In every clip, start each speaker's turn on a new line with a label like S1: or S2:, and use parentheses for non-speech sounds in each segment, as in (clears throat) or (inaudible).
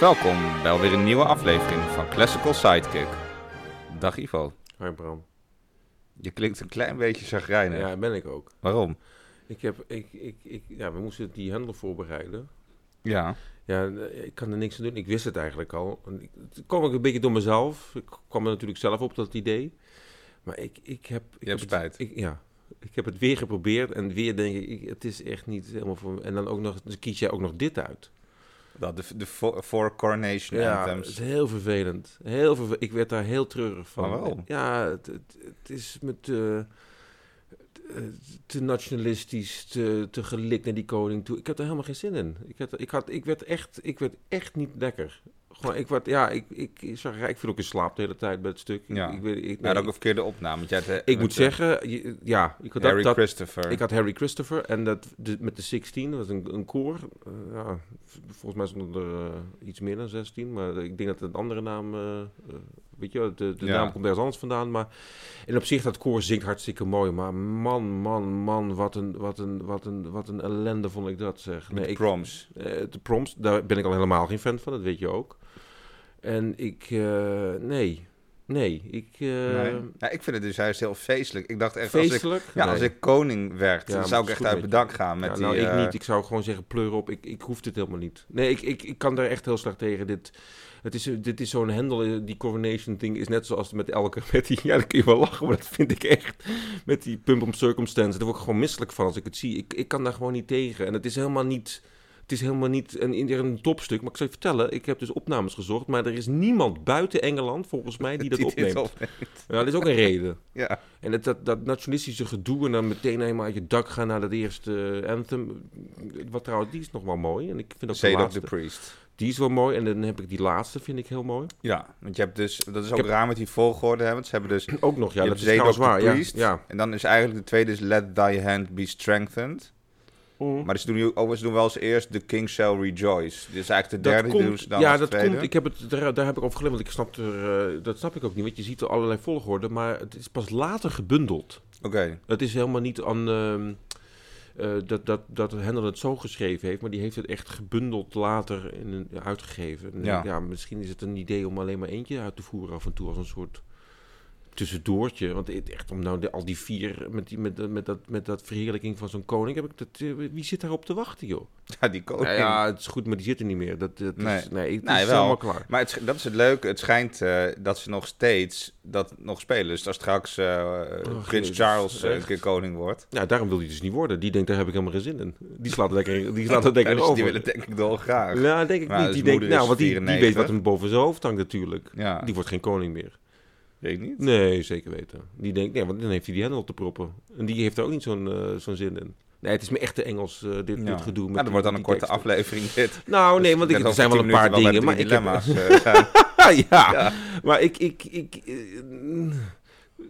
S1: Welkom bij weer een nieuwe aflevering van Classical Sidekick. Dag Ivo.
S2: Hoi Bram.
S1: Je klinkt een klein beetje chagrijnig.
S2: Ja, ben ik ook.
S1: Waarom?
S2: Ik heb, ik, ik, ik, ja, we moesten die handel voorbereiden.
S1: Ja.
S2: Ja, eh, ik kan er niks aan doen. Ik wist het eigenlijk al. En ik- Het kwam ook een beetje door mezelf. Ik kwam er natuurlijk zelf op dat idee. Maar ik, ik heb... Ik
S1: Je hebt
S2: heb
S1: spijt.
S2: Het, ik, ja. Ik heb het weer geprobeerd en weer denk ik, ik, het is echt niet helemaal voor me. En dan ook nog, dan kies jij ook nog dit uit.
S1: Dat, de, de Four Four Coronation
S2: Ja, het is
S1: Anthems.
S2: heel vervelend. Heel verve- ik werd daar heel treurig van.
S1: Maar waarom?
S2: Ja, het, het, het is me te, te- te nationalistisch, te, te gelikt naar die koning toe. Ik had er helemaal geen zin in. Ik, had, ik, had, ik, werd, echt, ik werd echt niet lekker. Gewoon, ik, werd, ja, ik, ik, ik, zag, ik viel ook in slaap de hele tijd bij het stuk.
S1: Ja.
S2: Ik, ik, weet- ik,
S1: Nou,
S2: nee,
S1: dat ook een verkeerde opname. want jij had, eh,
S2: ik
S1: met,
S2: moet
S1: eh,
S2: zeggen, je- ja, ik had,
S1: Harry
S2: dat, dat,
S1: Christopher.
S2: ik had Harry Christopher en dat, de- met de 16, dat was een, een koor. Eh, ja, v- volgens mij stond er eh, iets meer dan 16, maar ik denk dat het een andere naam, eh, eh, weet je, wel, de, de
S1: Ja.
S2: naam komt ergens anders vandaan. Maar en op zich, dat koor zingt hartstikke mooi, maar man, man, man, wat een, wat een, wat een, wat een ellende vond ik dat zeg.
S1: met
S2: ik,
S1: proms.
S2: eh, de proms, daar ben ik al helemaal geen fan van, dat weet je ook. En ik, eh, nee, nee, ik... eh,
S1: Nee. Nou, ik vind het dus juist heel feestelijk. Ik dacht echt, als ik,
S2: Feestelijk?
S1: ja, als
S2: Nee.
S1: ik koning werd,
S2: Ja,
S1: dan
S2: maar
S1: zou ik
S2: dat is
S1: echt
S2: goed
S1: uit
S2: met
S1: mijn
S2: je.
S1: dak gaan met
S2: ja, nou,
S1: die...
S2: ik
S1: eh, (laughs)
S2: niet. Ik zou gewoon zeggen, pleur op. Ik, ik hoef dit helemaal niet. Nee, ik, ik, ik kan daar echt heel slecht tegen. Dit, het is, dit is zo'n hendel. eh, Die coronation ding is net zoals met elke... (laughs) Met die, ja, dan kun je wel lachen, maar dat vind ik echt... Met die pump om circumstance. Daar word ik gewoon misselijk van als ik het zie. Ik, ik kan daar gewoon niet tegen. En het is helemaal niet... Het is helemaal niet een, een, een topstuk. Maar ik zal je vertellen, ik heb dus opnames gezocht. Maar er is niemand buiten Engeland, volgens
S1: (laughs)
S2: mij, die dat
S1: dit
S2: opneemt.
S1: opneemt.
S2: Ja, dat is ook een reden.
S1: Ja.
S2: En dat, dat, dat nationalistische gedoe en dan meteen helemaal uit je dak gaan naar dat eerste anthem. Wat trouwens, die is nog wel mooi. En ik vind ook de
S1: Zadok
S2: laatste.
S1: the Priest.
S2: Die is wel mooi. En dan heb ik die laatste, vind ik heel mooi.
S1: Ja, want je hebt dus... Dat is ook
S2: heb-
S1: raar met die volgorde, hè, want ze hebben dus...
S2: Ook nog, ja.
S1: Je
S2: dat is
S1: hebt Zadok
S2: trouwens
S1: the
S2: waar. Ja,
S1: Priest.
S2: ja.
S1: En dan is eigenlijk de tweede is Let Thy Hand Be Strengthened. Maar ze doen, nu, oh, ze doen wel eens eerst The King Shall Rejoice. Dit is eigenlijk de derde, die doen ze dan
S2: ja,
S1: als
S2: dat
S1: tweede.
S2: komt. Ik heb het, daar, daar heb ik over gelet, want ik snap er, eh, dat snap ik ook niet. Want je ziet er allerlei volgorden, maar het is pas later gebundeld.
S1: Oké, (laughs)
S2: Het is helemaal niet aan ehm, eh, dat, dat, dat Hendel het zo geschreven heeft, maar die heeft het echt gebundeld later in een, uitgegeven. En
S1: Ja.
S2: ja, misschien is het een idee om alleen maar eentje uit te voeren af en toe als een soort tussendoortje. Want het- echt om nou de- al die vier met, die, met, dat- met, dat, met dat verheerlijking van zo'n koning, heb ik dat, eh, wie zit daarop te wachten, joh?
S1: ja, die koning.
S2: Nou ja, het is goed, maar die zit er niet meer. Dat, dat
S1: Nee.
S2: is, nee, het
S1: Nee,
S2: is
S1: wel.
S2: helemaal klaar.
S1: Maar het, sch- dat is het leuke. Het schijnt eh, dat ze nog steeds dat nog spelen. Dus als straks eh, Prins
S2: Oh, Jezus,
S1: Charles eh, een
S2: echt?
S1: keer koning wordt...
S2: Nou, daarom wil hij dus niet worden. Die denkt, daar heb ik helemaal geen zin in. Die slaat het lekker, die slaat het
S1: (laughs) Ja,
S2: lekker
S1: dus die
S2: over.
S1: willen denk ik dolgraag. Ja.
S2: Nou, denk ik
S1: Maar
S2: niet.
S1: dus
S2: Die
S1: moeder
S2: denkt, nou,
S1: is
S2: want die, die
S1: 94.
S2: weet wat hem boven zijn hoofd hangt natuurlijk. Die wordt geen koning meer.
S1: weet ik niet.
S2: Nee, zeker weten. Die denkt, nee, want dan heeft hij die hendel op te proppen. En die heeft er ook niet zo'n eh, zo'n zin in. Nee, het is me echt de Engels, eh, dit,
S1: Ja.
S2: dit gedoe.
S1: Nou,
S2: Met
S1: dat
S2: die-
S1: wordt dan een
S2: die
S1: korte
S2: teksten.
S1: aflevering dit.
S2: Nou, nee,
S1: Dus
S2: want ik,
S1: net
S2: er
S1: over
S2: zijn wel
S1: 10
S2: een paar
S1: minuten
S2: dingen.
S1: wel bij
S2: Maar
S1: de
S2: ik heb,
S1: dilemma's,
S2: (laughs)
S1: eh, gaan.
S2: ja, ja,
S1: Ja.
S2: maar ik... ik, ik eh,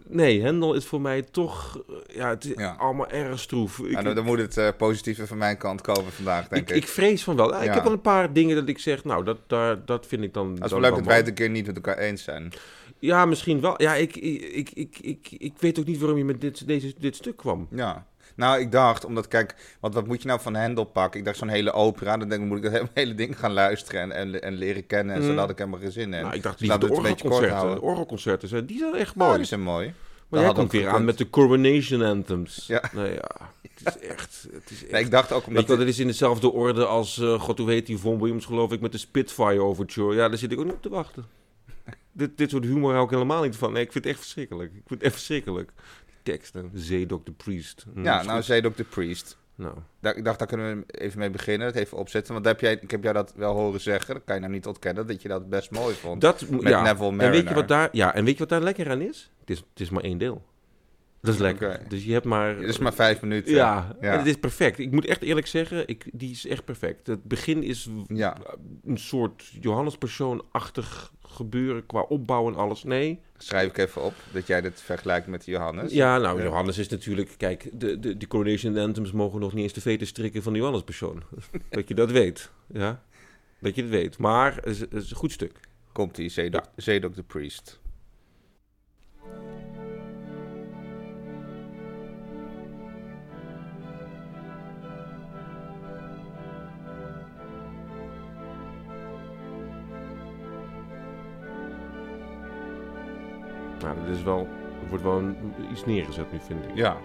S2: nee, hendel is voor mij toch... eh, Ja, het is
S1: Ja.
S2: allemaal erg stroef. Ik,
S1: Nou, dan, dan moet het eh, positieve van mijn kant komen vandaag, denk
S2: ik,
S1: ik.
S2: ik vrees van wel. Ja,
S1: Ja.
S2: Ik heb wel een paar dingen dat ik zeg, nou, dat, daar, dat vind ik dan...
S1: Dat is
S2: dan
S1: wel leuk
S2: wel
S1: dat wij
S2: mooi.
S1: het een keer niet met elkaar eens zijn.
S2: Ja, misschien wel. Ja, ik, ik, ik, ik, ik weet ook niet waarom je met dit, deze, dit stuk kwam.
S1: Ja. Nou, ik dacht, omdat kijk, wat, wat moet je nou van Hendel pakken? Ik dacht zo'n hele opera, dan denk ik, moet ik dat (laughs) hele, hele ding gaan luisteren en, en, en leren kennen. En zo
S2: Mm.
S1: had ik helemaal geen zin in.
S2: nou, ik dacht,
S1: Dus
S2: die de
S1: laten we het een beetje kort
S2: orgelconcerten.
S1: houden.
S2: De orgelconcerten, zijn- die zijn echt
S1: mooi.
S2: mooi.
S1: die zijn mooi.
S2: maar
S1: dat
S2: jij
S1: had
S2: komt
S1: ook
S2: weer aan
S1: gekund.
S2: met de Coronation Anthems.
S1: Ja.
S2: Nou ja, het is echt... Het is echt
S1: Nee, ik dacht ook, omdat
S2: dat, dat is in dezelfde orde als, eh, god hoe heet die, Von Williams geloof ik, met de Spitfire Overture. Ja, daar zit ik ook niet op te
S1: (laughs)
S2: wachten. dit, dit soort humor hou ik helemaal niet van. Nee, ik vind het echt verschrikkelijk. Ik vind het echt verschrikkelijk. Die teksten, Zedok the Priest. Hm,
S1: ja,
S2: is
S1: nou,
S2: goed.
S1: Zedok de Priest.
S2: nou.
S1: Daar, ik dacht, daar kunnen we even mee beginnen, het even opzetten. Want daar heb jij, ik heb jou dat wel horen zeggen, dat kan je nou niet ontkennen, dat je dat best mooi vond.
S2: Dat, mo-
S1: met
S2: ja.
S1: Neville
S2: En
S1: Mariner.
S2: weet je wat daar, ja, en weet je wat daar lekker aan is? Het is, het is maar één deel. Dat is lekker.
S1: Oké.
S2: Dus je hebt maar...
S1: Het is maar vijf minuten.
S2: ja,
S1: Ja.
S2: en het is perfect. Ik moet echt eerlijk zeggen, ik, die is echt perfect. Het begin is w-
S1: Ja.
S2: een soort Johannes Persoon-achtig gebeuren qua opbouw en alles. Nee,
S1: Schrijf ik even op, dat jij dit vergelijkt met Johannes.
S2: ja, nou,
S1: Ja.
S2: Johannes is natuurlijk... Kijk, de, de, de Coronation Anthems mogen nog niet eens de veten strikken van de Johannes Persoon. (laughs) dat je dat weet, ja. Dat je het weet. Maar het is, het is een goed stuk.
S1: Komt die Zedok, Zedok de Priest.
S2: Nou, dat is wel, er wordt wel een, iets neergezet nu, vind ik.
S1: Ja,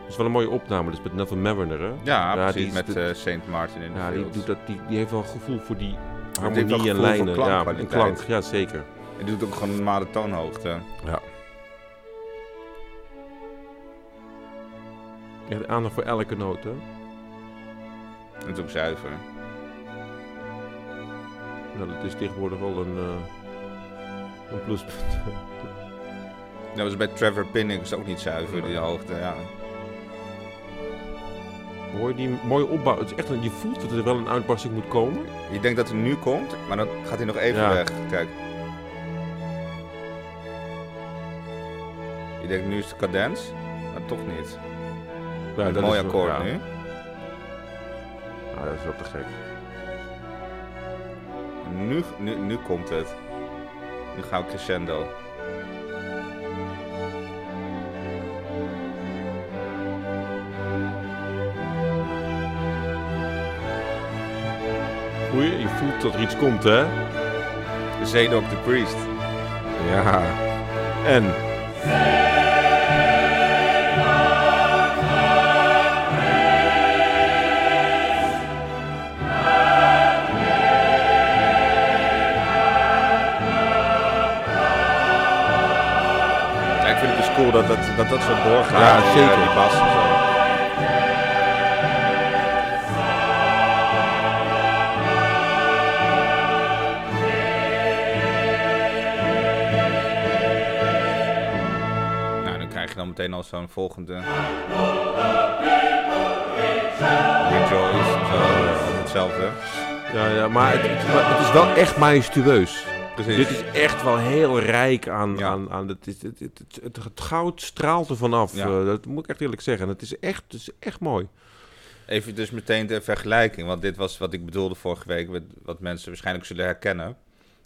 S2: Het is wel een mooie opname, dus met Neville Mariner, hè?
S1: ja,
S2: Ja, die
S1: precies.
S2: is
S1: Met
S2: de-
S1: eh, St. Martin in de
S2: Ja, die,
S1: Fields.
S2: doet dat, die, die heeft wel een gevoel voor die
S1: heeft wel
S2: harmonie en
S1: gevoel voor
S2: lijnen. ja, en
S1: klankkwaliteit.
S2: klank, ja, zeker.
S1: En die doet ook gewoon een normale toonhoogte.
S2: Ja. Ja, de aandacht voor elke noot, hè?
S1: Dat is ook zuiver.
S2: Nou, dat is tegenwoordig wel een, eh, een pluspunt.
S1: Dat was bij Trevor Pinnock ook niet zuiver, die hoogte. Ja.
S2: Hoor je die mooie opbouw? Het is echt een, je voelt dat er wel een uitbarsting moet komen.
S1: Je denkt dat hij nu komt, maar dan gaat hij nog even
S2: Ja.
S1: weg. Kijk. Je denkt nu is de cadens, maar toch niet.
S2: Ja, dat
S1: Mooi
S2: is wel-
S1: akkoord
S2: ja.
S1: nu.
S2: Ja, dat is wel te gek.
S1: nu. Nu, nu komt het. Nu gaan we crescendo.
S2: Goeie, je voelt dat er iets komt, hè?
S1: Zedok de Priest.
S2: Ja. En?
S1: Ja, ik vind het dus cool dat dat, dat, dat zo doorgaat.
S2: Ja,
S1: eh,
S2: zeker.
S1: Die bas en zo. Nou, dan krijg je dan meteen al zo'n volgende. Rejoice eh, en zo. Hetzelfde.
S2: Ja, ja maar het, het- maar het is wel echt majestueus.
S1: Precies.
S2: Dit is echt wel heel rijk aan...
S1: Ja.
S2: aan, aan het, het, het, het, het- het goud straalt er vanaf.
S1: Ja.
S2: eh, dat moet ik echt eerlijk zeggen. Het is echt, het is echt mooi.
S1: Even dus meteen de vergelijking, want dit was wat ik bedoelde vorige week, met wat mensen waarschijnlijk zullen herkennen.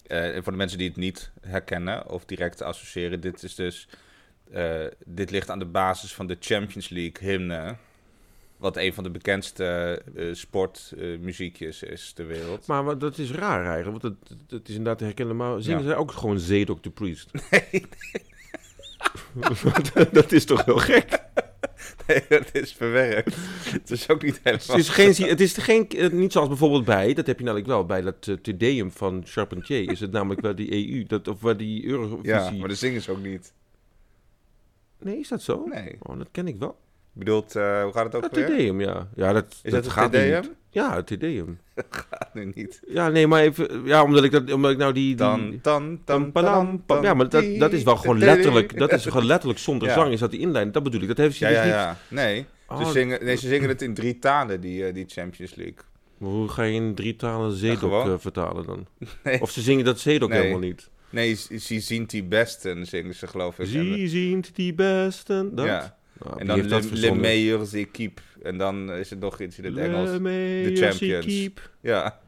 S1: Eh, en voor de mensen die het niet herkennen of direct associëren, dit is dus, eh, dit ligt aan de basis van de Champions League hymne, wat een van de bekendste eh, sportmuziekjes eh, is ter wereld. (laughs)
S2: Maar wat- dat is raar eigenlijk. Want het, het is inderdaad te herkennen. Maar zingen
S1: Ja.
S2: zij ook gewoon Zedok de Priest? (laughs) dat, dat is toch heel gek?
S1: Nee, dat is verwerkt. Het is ook niet helemaal...
S2: Het is, geen, het is geen, eh, niet zoals bijvoorbeeld bij, dat heb je namelijk wel, bij dat eh, Te Deum van Charpentier is het namelijk wel die EU, dat, of waar die
S1: Ja,
S2: Eurovisie...
S1: maar de zingen ze ook niet.
S2: Nee, is dat zo?
S1: Nee.
S2: Oh, dat ken ik wel.
S1: Ik bedoel, eh, hoe gaat het ook
S2: Dat Te
S1: weer?
S2: Deum, ja. ja dat,
S1: Is dat,
S2: gaat
S1: het TDM?
S2: niet. Ja, het Te Deum.
S1: (laughs) Nee, niet.
S2: Ja, nee, maar even, ja, omdat ik, dat, omdat ik nou die... die
S1: Dan, dan,
S2: Pam,
S1: dan,
S2: padam,
S1: dan,
S2: pam. Ja, maar dat, dat is wel gewoon
S1: (laughs)
S2: letterlijk, dat is gewoon letterlijk zonder
S1: Ja.
S2: zang, is dat die inleiding, dat bedoel ik. Dat heeft ze
S1: Ja,
S2: dus
S1: ja,
S2: niet...
S1: ja. Nee. Ze,
S2: Oh,
S1: zingen, nee, ze zingen het in drie talen, die, eh, die Champions League.
S2: Hoe ga je in drie talen Zedok
S1: gewoon.
S2: eh, vertalen dan?
S1: (laughs) Nee.
S2: Of ze zingen dat Zedok
S1: Nee.
S2: helemaal niet.
S1: Nee, ze ze zien die besten, zingen ze geloof ik.
S2: Zie, ziet die besten. Dat?
S1: Ja.
S2: Nou,
S1: En
S2: wie
S1: dan
S2: heeft
S1: Le,
S2: dat
S1: le
S2: verzonnen?
S1: meilleures équipe. En dan is het nog iets in het
S2: Le
S1: Engels.
S2: Meilleur
S1: Champions.
S2: Keep.
S1: Ja.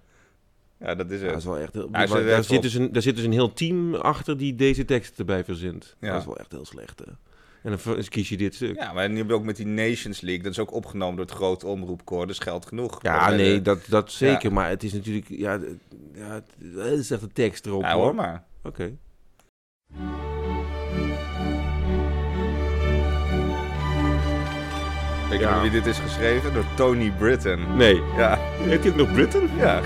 S1: Ja, dat is
S2: Ja, dat is
S1: het.
S2: wel echt heel...
S1: Hij
S2: maar
S1: zit er
S2: daar,
S1: echt
S2: zit
S1: op.
S2: dus een, daar zit dus een heel team achter die deze tekst erbij verzint.
S1: Ja.
S2: Dat is wel echt heel slecht, hè. En dan ver- kies je dit stuk. Ja,
S1: Ja, maar nu heb je ook met die Nations League. Dat is ook opgenomen door het grote omroepkoor. Dus geld genoeg. Maar bij
S2: nee,
S1: de-
S2: dat, dat zeker. Maar het is natuurlijk... Ja, d- ja het- eh, het is echt de tekst erop,
S1: Ja, hoor maar.
S2: Oké.
S1: Weet je
S2: Ja.
S1: door wie dit is geschreven? Door Tony Britton.
S2: Nee.
S1: Ja,
S2: Heet dit nog Britain? (laughs)
S1: ja.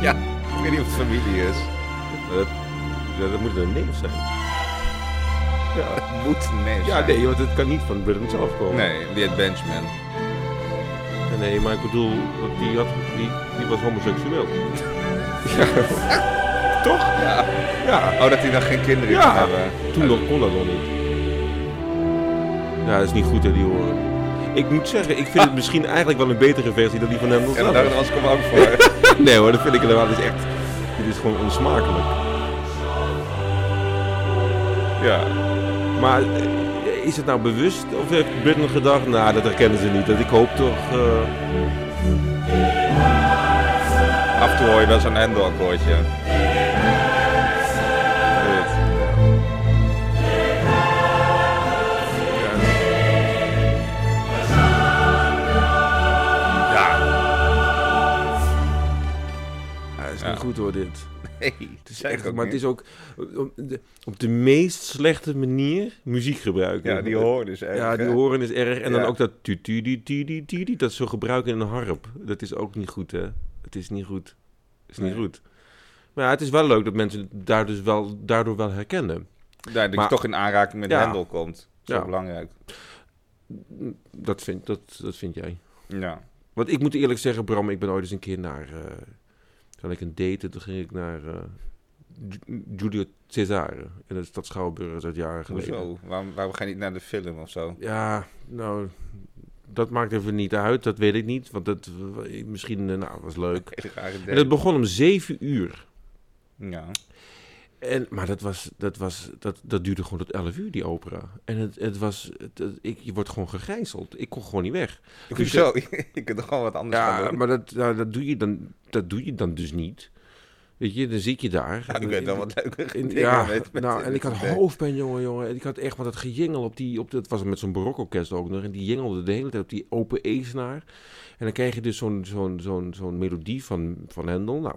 S1: Ja, ik weet niet of het familie is.
S2: Dat, dat, dat moet een neef zijn. Ja.
S1: Moet nee
S2: Ja,
S1: zijn.
S2: nee, want het kan niet van Britain zelf komen.
S1: Nee, die heet Benjamin.
S2: Nee, maar ik bedoel, want die, had, die, die was (laughs) homoseksueel.
S1: (laughs)
S2: Toch?
S1: Ja.
S2: Ja.
S1: Oh, dat hij dan geen kinderen
S2: Ja.
S1: kan hebben.
S2: Toen
S1: Ja,
S2: nog kon dat nog niet. Ja, dat is niet goed hè, die horen. Ik moet zeggen, ik vind het misschien eigenlijk wel een betere versie dan die van hem.
S1: En Ah. daar was ik hem ook
S2: (laughs)
S1: voor.
S2: Nee hoor, dat vind ik inderdaad. Dit is echt, dit is gewoon onsmakelijk.
S1: ja.
S2: Maar eh, is het nou bewust of heeft Britain gedacht, nou dat herkennen ze niet. Dat ik hoop toch... eh,
S1: Af en toe hoor je wel zo'n Endo-akkoordje. Ja.
S2: Ja, dat is
S1: Ja.
S2: niet goed. goed hoor, dit.
S1: Nee,
S2: Het is echt, maar het is ook op de, op de meest slechte manier muziek gebruiken.
S1: Ja, die horen dus echt.
S2: Ja, die
S1: hè?
S2: horen is erg. En
S1: Ja.
S2: dan ook dat tu tu die tu die tu die, dat ze gebruiken in een harp. Dat is ook niet goed, hè? Het is niet goed. Het is niet
S1: Nee.
S2: goed. Maar ja, het is wel leuk dat mensen het daar dus wel, daardoor wel herkennen.
S1: Ja, dat
S2: Maar-
S1: je toch in aanraking met
S2: Ja.
S1: Hendel komt. Dat is
S2: Ja.
S1: ook belangrijk.
S2: Dat vind, dat, dat vind jij.
S1: Ja.
S2: Want ik moet eerlijk zeggen, Bram, ik ben ooit eens een keer naar... eh toen had ik een date en toen ging ik naar eh, Ju- Giulio Cesare. In de stad Schouwburg, dat is jaren geleden.
S1: Hoezo? Waarom, waarom ga je niet naar de film of zo?
S2: Ja, nou, dat maakt even niet uit. Dat weet ik niet. Want dat eh, misschien, eh, nou, was leuk.
S1: Hele rare
S2: En
S1: idee.
S2: dat begon om zeven uur.
S1: Ja.
S2: En, maar dat, was, dat, was, dat, dat duurde gewoon tot elf uur, die opera. En het, het was, het- het- ik, je wordt gewoon gegijzeld. Ik kon gewoon niet weg.
S1: Hoezo? (laughs) je kunt er gewoon wat anders gaan
S2: Ja,
S1: doen.
S2: maar dat, nou, dat, doe je dan, dat doe je dan dus niet. Weet je, dan zit je daar.
S1: Ja, ik weet wel wat leuker.
S2: In-
S1: (laughs) dingen
S2: ja,
S1: met- met-
S2: nou, en
S1: met-
S2: ik had
S1: met-
S2: hoofdpijn, jongen, jongen. En ik had echt, want dat gejengel op die, op dat was met zo'n barokorkest ook nog. En die jengelde de hele tijd op die open E-snaar. En dan krijg je dus zo'n zo'n zo'n zo'n melodie van, van Hendel. Nou,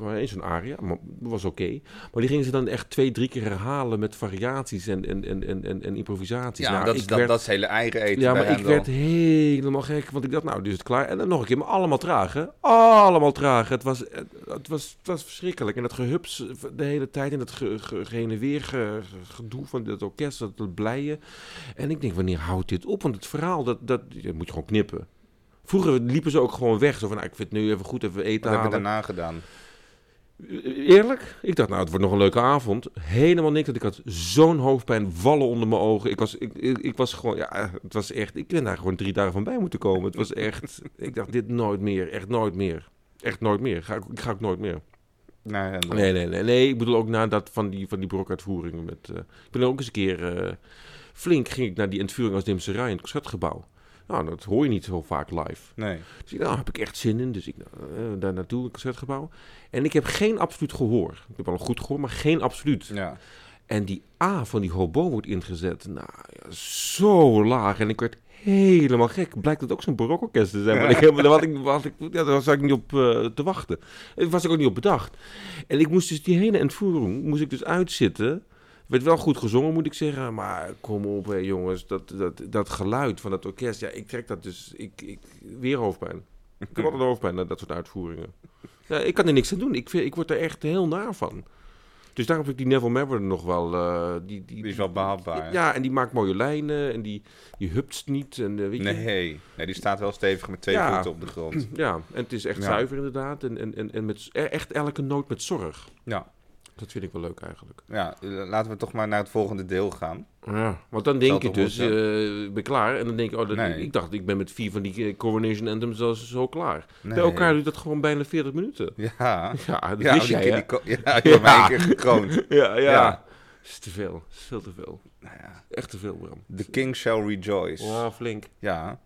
S2: maar eens zo'n aria, maar was oké. Maar die gingen ze dan echt twee, drie keer herhalen met variaties en, en, en, en, en, en improvisaties.
S1: Ja,
S2: Nou,
S1: dat, is,
S2: ik
S1: dat,
S2: werd-
S1: dat is hele eigen eten.
S2: ja,
S1: bij
S2: maar ik
S1: Hendel.
S2: werd helemaal gek, want ik dacht, nou, dus het klaar. En dan nog een keer, maar allemaal traag, hè? Allemaal traag. Het was, het, het was, het was verschrikkelijk. En dat gehups de hele tijd en dat ge, ge, heen en weer ge- ge- gedoe van dat orkest, dat, dat blijen. En ik denk, wanneer houdt dit op? Want het verhaal, dat, dat, dat moet je gewoon knippen. Vroeger liepen ze ook gewoon weg. Zo van, nou, ik vind het nu even goed, even eten
S1: Wat heb je
S2: halen.
S1: daarna gedaan?
S2: Eerlijk, ik dacht, nou, het wordt nog een leuke avond. Helemaal niks, want ik had zo'n hoofdpijn, wallen onder mijn ogen. Ik was, ik, ik, ik was gewoon, ja, het was echt, ik ben daar gewoon drie dagen van bij moeten komen. Het was echt, ik dacht, dit nooit meer, echt nooit meer. Echt nooit meer, ga, ik- ik ga ook nooit meer.
S1: Naar Hendel.
S2: Nee, nee, nee, nee, ik bedoel ook na dat van die, van die brokuitvoeringen met... eh, ik ben ook eens een keer eh, flink, ging ik naar die ontvoering als Dimserij in het Concertgebouw. Nou, dat hoor je niet zo vaak live.
S1: Nee.
S2: Dus ik, nou, daar heb ik echt zin in. Dus ik nou, eh, daar naartoe, een concertgebouw. En ik heb geen absoluut gehoor. Ik heb wel een goed gehoor, maar geen absoluut.
S1: Ja.
S2: En die A van die hobo wordt ingezet. Nou, ja, zo laag. En ik werd helemaal gek. Blijkt dat ook zo'n barokorkest te zijn. Maar ik,
S1: (laughs)
S2: helemaal- daar, had ik, had ik, ja, daar was ik niet op eh, te wachten. Daar was ik ook niet op bedacht. En ik moest dus die hele entvoering moest ik dus uitzitten. Werd wel goed gezongen, moet ik zeggen. Maar kom op, hè, jongens. Dat, dat, dat geluid van dat orkest. Ja, ik trek dat dus. Ik, ik, weer hoofdpijn. Ik heb altijd hoofdpijn na dat soort uitvoeringen. Ja, ik kan er niks aan doen. Ik, vind, ik word er echt heel naar van. Dus daarom vind ik die Neville Maverick nog wel... eh, die, die,
S1: Die is wel behapbaar.
S2: Ja, en die maakt mooie lijnen. En die, die hupt niet. En, eh, weet je?
S1: Nee. nee, die staat wel stevig met twee
S2: Ja.
S1: voeten op de grond.
S2: Ja, en het is echt
S1: Ja.
S2: zuiver inderdaad. En, en, en, en met, z- e- echt elke noot met zorg.
S1: Ja.
S2: Dat vind ik wel leuk eigenlijk.
S1: ja, laten we toch maar naar het volgende deel gaan.
S2: Ja, want dan denk
S1: Zal
S2: je
S1: toch wel
S2: dus,
S1: zijn.
S2: eh, ik ben klaar. En dan denk ik, oh, dat,
S1: Nee.
S2: ik dacht, ik ben met vier van die eh, Coronation Anthems al zo klaar.
S1: Nee.
S2: Bij elkaar duurt dat gewoon bijna 40 minuten.
S1: Ja.
S2: Ja, dat
S1: Ja,
S2: wist
S1: die
S2: jij,
S1: keer
S2: hè?
S1: die ko- ja, ik heb mij
S2: Ja.
S1: een keer gekroond.
S2: Ja, ja.
S1: Ja. Nou
S2: is te veel. is veel te veel. Echt te veel, Bram.
S1: The King Shall Rejoice.
S2: Wow, flink.
S1: Ja.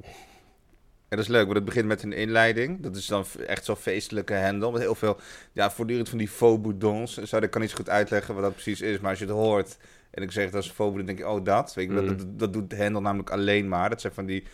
S1: En dat is leuk, want het begint met een inleiding. Dat is dan echt zo'n feestelijke hendel. Met heel veel, ja, voortdurend van die faux boudons. en Zo, ik kan niet zo goed uitleggen wat dat precies is. Maar als je het hoort en ik zeg dat is een faux boudon, denk ik, oh dat. Weet je, dat,
S2: Mm.
S1: dat, dat doet de hendel namelijk alleen maar. Dat zijn van die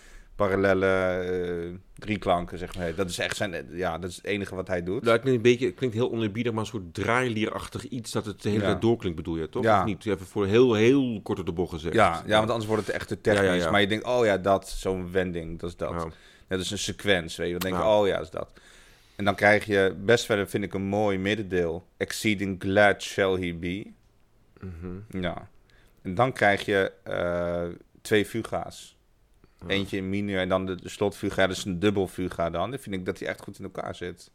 S1: parallele eh, drieklanken, zeg maar. Dat is echt zijn, ja, dat is het enige wat hij doet.
S2: Nou, het klinkt, een beetje, het klinkt heel oneerbiedig, maar een soort draailierachtig iets dat het de hele
S1: Ja.
S2: tijd doorklinkt, bedoel je toch?
S1: Ja.
S2: Of niet? Even voor heel, heel kort op de bocht gezegd.
S1: Ja, ja, want anders wordt het echt te
S2: Ja, ja,
S1: technisch.
S2: ja.
S1: Maar je denkt, oh ja, dat, zo'n wending, dat is dat.
S2: Ja.
S1: Dat is een sequence, weet je. Dan denk je,
S2: Ja.
S1: oh ja, is dat. En dan krijg je best verder, vind ik, een mooi middendeel. Exceeding glad shall he be.
S2: Mhm.
S1: Ja. En dan krijg je eh, twee fuga's. Eentje in minor en dan de, de slotfuga. Dat is een dubbel fuga dan. Dan vind ik dat die echt goed in elkaar zit.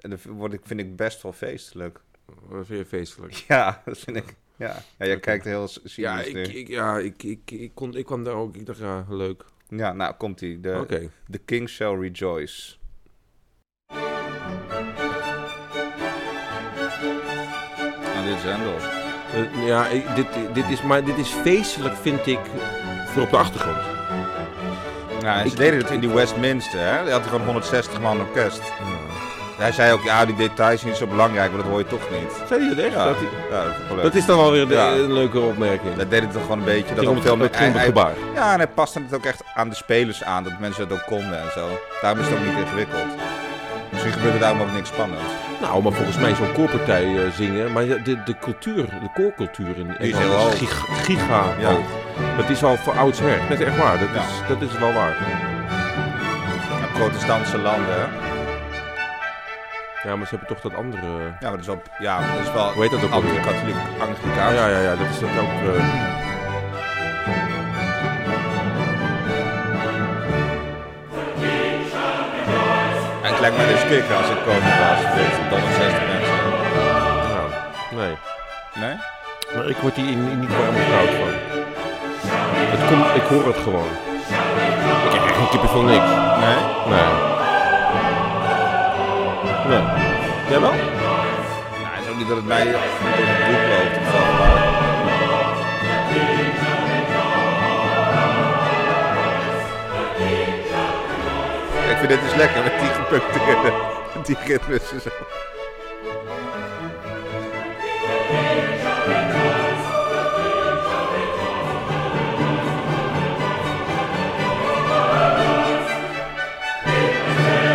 S1: En dat word ik, vind ik best wel feestelijk. (laughs)
S2: Dat vind je feestelijk.
S1: Ja, dat vind ik. Ja, ja jij
S2: Oké.
S1: kijkt heel s-
S2: Ja,
S1: cynisch
S2: ik,
S1: nu.
S2: ik, ja ik, ik, ik, kon, ik kwam daar ook. Ik dacht, ja, leuk.
S1: Ja, nou komt ie. De,
S2: Oké.
S1: The King Shall Rejoice. Nou, dit is Hendel.
S2: Eh, ja, ik- dit, dit, is, maar dit is feestelijk, vind ik, voor op de achtergrond.
S1: Ja, en ze
S2: Ik-
S1: deden het in die Westminster, hè? Hij had gewoon 160 man orkest.
S2: Ja.
S1: Hij zei ook, ja, die details zijn niet zo belangrijk, want dat hoor je toch niet.
S2: Zei je dat echt?
S1: Ja,
S2: Dat,
S1: ja, dat, vond ik wel leuk.
S2: dat is dan wel weer de-
S1: Ja.
S2: een leuke opmerking.
S1: Dat deed het toch gewoon een beetje. Dat
S2: ging om
S1: ook
S2: het-
S1: veel
S2: het ging om het
S1: hij- hij-
S2: gebaar.
S1: Ja, en hij paste het ook echt aan de spelers aan, dat mensen dat ook konden en zo. Daarom is het ook niet ingewikkeld. Dus Misschien gebeurt er daarom ook niks spannends.
S2: Nou, maar volgens mij zo'n koorpartij eh, zingen. Maar de, de cultuur, de koorcultuur in
S1: is
S2: Engeland
S1: heel
S2: giga, giga
S1: Ja.
S2: hoog. Dat is al voor oudsher. Dat is echt waar. Dat,
S1: Ja.
S2: is, dat is wel waar.
S1: Ja, protestantse landen, hè?
S2: Ja, maar ze hebben toch dat andere...
S1: Ja, maar dat is wel... Ja, dat is wel...
S2: Hoe heet dat ook alweer?
S1: Anglicatholiek,
S2: Ja,
S1: Anglicaans.
S2: ja, ja, ja dat is dat ook... eh,
S1: En het lijkt mij dus kicken als ik koning was. Dit, Dan met 60 mensen.
S2: ja. Nee.
S1: Nee?
S2: Maar ik word hier in- niet warm of koud van. Het komt, ik hoor het gewoon. Ik heb echt geen kippenvel niks.
S1: Nee?
S2: Nee. Nee. Jij wel?
S1: Nou, het is ook niet dat het mij door de broek loopt of zo. maar- Ik vind dit dus lekker met die gepunkteerde... met Die ritmes en zo.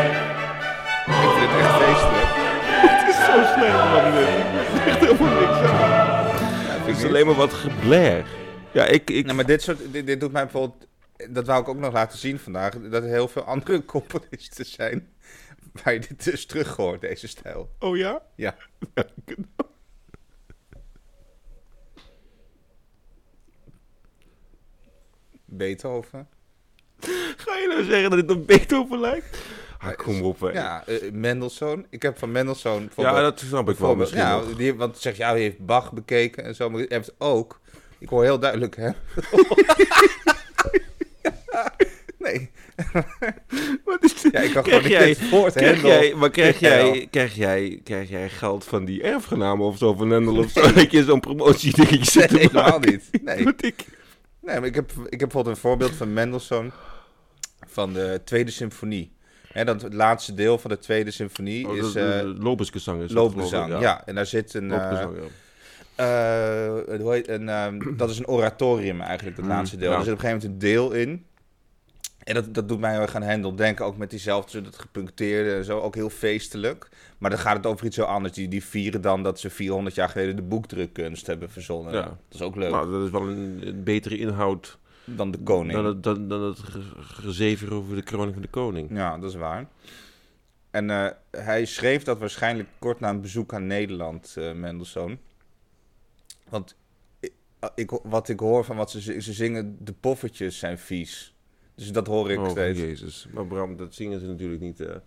S1: Ik vind dit echt feestelijk.
S2: Het is zo slecht, man. Het echt helemaal niks aan.
S1: Vind ik
S2: Het is
S1: niet.
S2: alleen maar wat gebler. Ja, ik... ik
S1: Nee, Nou, maar dit soort, dit, dit doet mij bijvoorbeeld, dat wou ik ook nog laten zien vandaag, dat er heel veel andere (laughs) componisten zijn waar je dit dus terug hoort, deze stijl.
S2: Oh ja?
S1: Ja. (laughs) Beethoven.
S2: Ga je nou zeggen dat dit op Beethoven lijkt? Ah, kom op, hè.
S1: Ja, eh, Mendelssohn. Ik heb van Mendelssohn
S2: Ja,
S1: bijvoorbeeld...
S2: dat snap ik wel
S1: Bijvoorbeeld,
S2: misschien
S1: ja,
S2: nog.
S1: die, want zeg je, ja, die heeft Bach bekeken en zo, maar die heeft ook. Ik hoor heel duidelijk,
S2: (laughs)
S1: hè? nee.
S2: (laughs) Wat is dit?
S1: Ja, ik kan
S2: Krijg
S1: gewoon niet
S2: jij-
S1: dit woord
S2: Krijg
S1: Hendel.
S2: jij, maar krijg
S1: Ja.
S2: jij, krijg, jij, krijg jij geld van die erfgenamen of zo van Nendel of zo? (laughs) Dat je zo'n promotie denk ik
S1: (laughs)
S2: zit (laughs)
S1: Nee,
S2: te
S1: helemaal
S2: maken.
S1: niet. Nee,
S2: Wat ik.
S1: nee maar ik heb, ik heb bijvoorbeeld een voorbeeld van Mendelssohn van de Tweede Symfonie. Hè, dat het laatste deel van de Tweede Symfonie
S2: Oh,
S1: is eh
S2: Lobesgezang is dat,
S1: loopbezang. Ja.
S2: geloof ik,
S1: en daar zit een... eh,
S2: Lobezang, ja.
S1: eh, hoe heet- een,
S2: (clears throat)
S1: ehm, dat is een oratorium eigenlijk, dat
S2: Mm,
S1: laatste deel.
S2: ja.
S1: Er zit op een gegeven moment een deel in. En dat, dat doet mij heel erg aan Hendel denken. Ook met diezelfde, dat gepuncteerde en zo. Ook heel feestelijk. Maar dan gaat het over iets heel anders. Die, die vieren dan dat ze 400 jaar geleden de boekdrukkunst hebben verzonnen.
S2: Ja.
S1: Dat is ook leuk.
S2: Nou, dat is wel een, een betere inhoud
S1: dan de koning.
S2: dan het, dan, dan het ge- gezever over de kroning van de koning.
S1: Ja, dat is waar. En eh, hij schreef dat waarschijnlijk kort na een bezoek aan Nederland, eh Mendelssohn. Want ik, ik- wat ik hoor van wat ze, z- ze zingen, de poffertjes zijn vies. Dus dat hoor ik
S2: oh,
S1: steeds.
S2: jezus. Maar Bram, dat zingen ze natuurlijk niet. eh.
S1: Nou,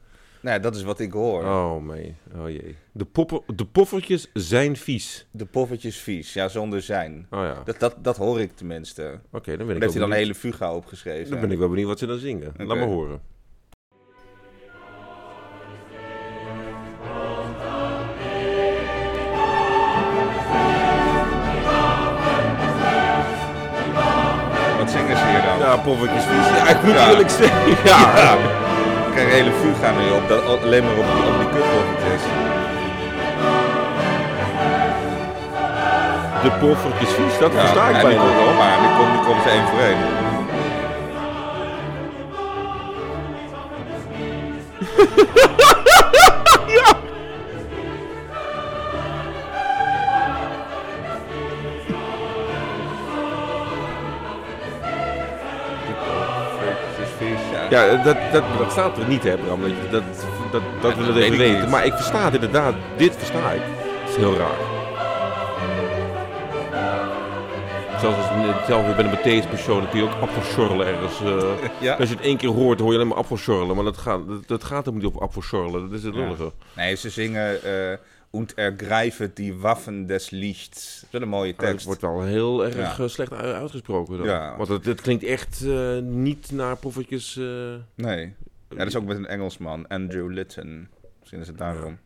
S1: ja, dat is wat ik hoor.
S2: Oh, mee. Oh, jee. De, popper, de poffertjes zijn vies.
S1: De poffertjes vies, ja, zonder zijn.
S2: Oh ja. Oké,
S1: Dat, dat, dat hoor ik tenminste. Dan
S2: dan
S1: heeft
S2: ben ik wel
S1: hij dan een
S2: benieuwd.
S1: hele fuga opgeschreven.
S2: Dan ben ik wel benieuwd wat ze dan zingen.
S1: Oké.
S2: Laat maar horen.
S1: Wat zingen ze hier dan?
S2: Ja, poffertjes vies. Ja, ik moet
S1: Ja.
S2: eerlijk zeggen. Ja.
S1: (laughs) Ja, ik krijg een hele fuga nu op, dat, alleen maar op, die- op die kutpoffertjes.
S2: De poffertjes vies, dat versta ik
S1: en die
S2: bijna
S1: komt
S2: wel.
S1: maar die komt, die komt er één voor één. Ja.
S2: Ja, dat, dat, dat staat er niet, hè, Bram? Dat, dat, dat, dat we
S1: dat
S2: dat
S1: weet
S2: even
S1: ik
S2: weten.
S1: niet.
S2: Maar ik versta het inderdaad. Dit versta ik. Dat is heel raar. Zelfs als zelf, ik ben een Matthäus persoon, dan kun je ook appelschorrelen ergens. eh. (laughs)
S1: Ja.
S2: Als je het één keer hoort, hoor je alleen maar appelschorrelen. Maar dat gaat, dat, dat gaat hem niet op appelschorrelen. Dat is het
S1: Ja.
S2: lullige.
S1: Nee, ze zingen eh und ergreife die Waffen des Lichts. Dat is een mooie
S2: Maar Het
S1: tekst.
S2: Oh, wordt wel heel erg
S1: Ja.
S2: eh, slecht u- uitgesproken. Dan.
S1: Ja.
S2: Want het, het klinkt echt eh, niet naar poffertjes. eh,
S1: Nee. Ja, dat is ook met een Engelsman, Andrew Litton. Misschien is het daarom.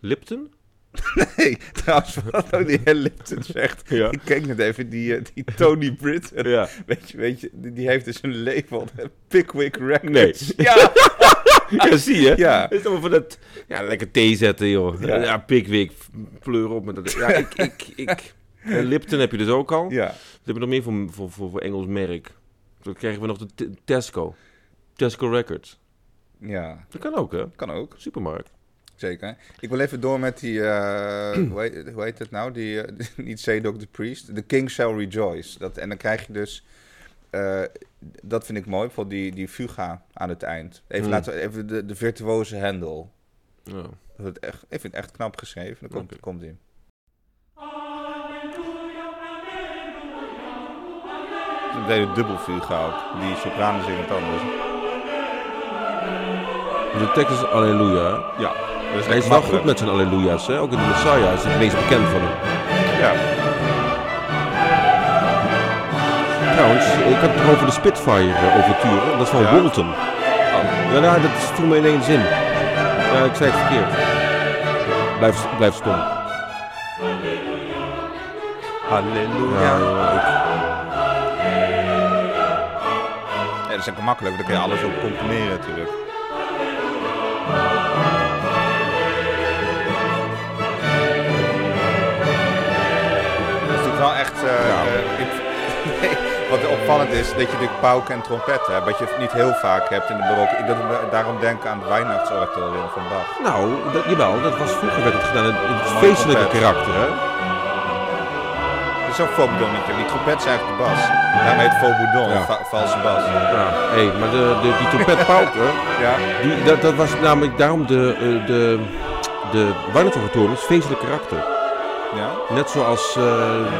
S2: Lipton?
S1: Hey, trouwens, wat ook
S2: (laughs)
S1: die hele Lipton zegt.
S2: Ja.
S1: Ik keek net even, die, eh, die Tony Britton.
S2: ja.
S1: Weet je, weet je, die, die heeft dus een label. hè, Pickwick Records.
S2: Nee. (laughs)
S1: Ja,
S2: Ja, zie je?
S1: Ja.
S2: Het is allemaal van dat... Ja, lekker thee zetten, joh.
S1: Ja.
S2: Ja, pikwik, pleur op met dat... Ja, ik... ik,
S1: (laughs)
S2: ik. En Lipton heb je dus ook al.
S1: ja.
S2: Wat hebben we nog meer voor, voor, voor, voor Engels merk? Dan krijgen we nog de T- Tesco. Tesco Records.
S1: Ja,
S2: Dat kan ook, hè?
S1: kan ook.
S2: Supermarkt.
S1: Zeker. Ik wil even door met die, eh, hoe, heet, hoe heet het nou? Die, eh, (laughs) niet Zadok the Priest. The King Shall Rejoice. Dat, en dan krijg je dus, eh, dat vind ik mooi, bijvoorbeeld die, die fuga aan het eind. Even,
S2: Hmm.
S1: laten we, even de, de virtuoze Handel.
S2: Ja.
S1: Dat wordt echt, ik vind het echt knap geschreven. Dan komt,
S2: Oké.
S1: komt ie. Het is een hele dubbel fuga ook. Die soprano zingt het anders.
S2: De tekst is Alleluia.
S1: Ja, dat is
S2: Hij is
S1: echt
S2: wel
S1: makkelijk.
S2: goed met zijn Alleluia's, hè? Ook in de Messiah is het meest bekend van hem.
S1: Ja.
S2: Trouwens, ik had het nog over de Spitfire-overture. Dat is van
S1: Ja?
S2: Walton. Ja, nou, dat is toen me in één zin. Ja, ik zei het verkeerd. Blijf, blijf stom.
S1: Halleluja.
S2: Ja, ik-
S1: Ja, dat is lekker makkelijk, want dan kun je alles op componeren natuurlijk. Dat is natuurlijk wel echt... eh,
S2: Ja.
S1: eh, (laughs) ik- wat opvallend is, dat je natuurlijk pauken en trompetten hebt, wat je niet heel vaak hebt in de barok. Ik dat ik daarom denk aan het Weihnachtsoratorium van Bach.
S2: nou, dat, jawel, dat was vroeger werd het gedaan in in het feestelijke
S1: trompet.
S2: karakter, hè?
S1: Dat is ook Faubodonnetje. Die trompet is eigenlijk de bas. Daarmee heet Faubodon,
S2: Ja.
S1: va- valse bas.
S2: Ja, hé, maar de, de, die trompetpauker,
S1: Ja,
S2: die, dat, dat was namelijk daarom de, eh, de, de Weihnachtsoratoriums feestelijk karakter.
S1: ja.
S2: Net zoals eh,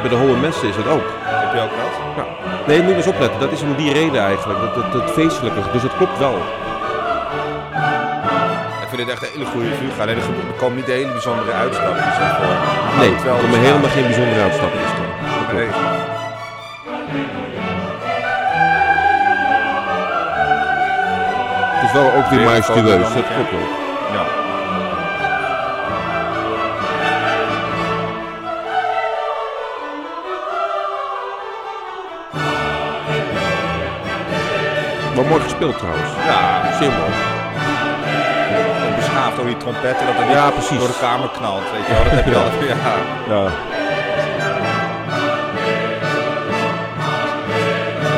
S2: bij de Hohe Messen is het ook.
S1: Heb je ook dat?
S2: Ja. Nee, moet je eens opletten. Dat is om die reden eigenlijk. Dat, dat, dat feestelijke. Dus dat klopt wel.
S1: Ik vind het echt een hele goede fuga. Nee, er gebe- er komen niet de hele bijzondere uitstapjes in voor.
S2: Nee,
S1: het wel
S2: er komen
S1: bestaan.
S2: helemaal geen bijzondere uitstappen in staan. Dat
S1: Nee.
S2: klopt. Het is wel ook weer
S1: Weer
S2: majestueus,
S1: gewoon
S2: dat
S1: een
S2: klopt wel.
S1: Ja.
S2: Wel mooi gespeeld trouwens.
S1: ja,
S2: Zeer mooi.
S1: ook beschaafd door die trompetten dat er niet
S2: Ja, precies.
S1: door de kamer knalt. Weet je wel, dat heb je
S2: Ja.
S1: altijd. Ja.
S2: Ja.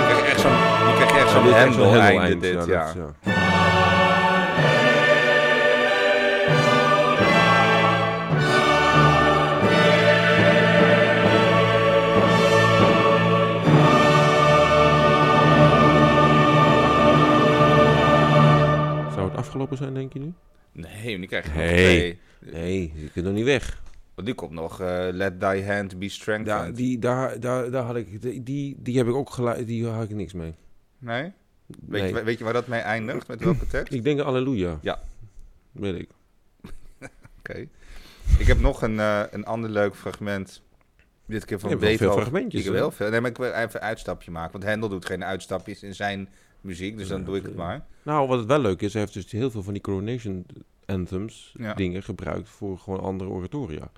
S1: Je krijgt echt zo'n je krijgt echt zo'n
S2: dit is echt
S1: hendel
S2: zo'n hendel
S1: einde
S2: eind,
S1: dit.
S2: dat
S1: Ja.
S2: is, ja. Zou het afgelopen zijn, denk je nu?
S1: Nee, die krijg je
S2: Nee.
S1: nog twee.
S2: Nee, je kunt nog niet weg.
S1: Want die komt nog eh, Let Thy Hand Be Strengthened.
S2: Daar, die, daar, daar, daar had ik, die, die heb ik ook geluid, die had ik niks mee.
S1: Nee? Weet,
S2: Nee.
S1: Je, weet je waar dat mee eindigt? Met welke tekst?
S2: Ik denk Alleluia.
S1: Ja.
S2: Weet ik.
S1: Oké. Ik heb nog een, eh, een ander leuk fragment. Dit keer
S2: Je
S1: van
S2: hebt wel veel
S1: Beethoven.
S2: fragmentjes,
S1: Ik
S2: hè?
S1: wil heel veel. Nee, maar ik wil even een uitstapje maken. Want Hendel doet geen uitstapjes in zijn muziek. Dus dan
S2: Ja,
S1: doe ik het
S2: oké.
S1: maar.
S2: Nou, wat het wel leuk is, hij heeft dus heel veel van die coronation anthems
S1: Ja.
S2: dingen gebruikt voor gewoon andere oratoria.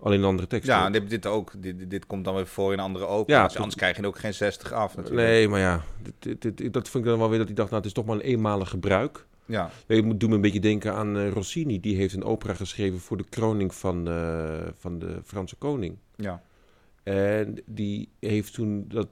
S2: Alleen andere teksten.
S1: Ja, en dit, dit ook. Dit, dit- dit komt dan weer voor in een andere open.
S2: Ja,
S1: dus
S2: tot-
S1: anders krijg je ook geen 60 af natuurlijk.
S2: nee, maar ja, dit, dit- dit- dat vind ik dan wel weer dat hij dacht, nou, het is toch maar een eenmalig gebruik.
S1: Ja.
S2: Ik moet doet me een beetje denken aan eh, Rossini, die heeft een opera geschreven voor de kroning van, eh, van de Franse koning.
S1: ja.
S2: En die heeft toen dat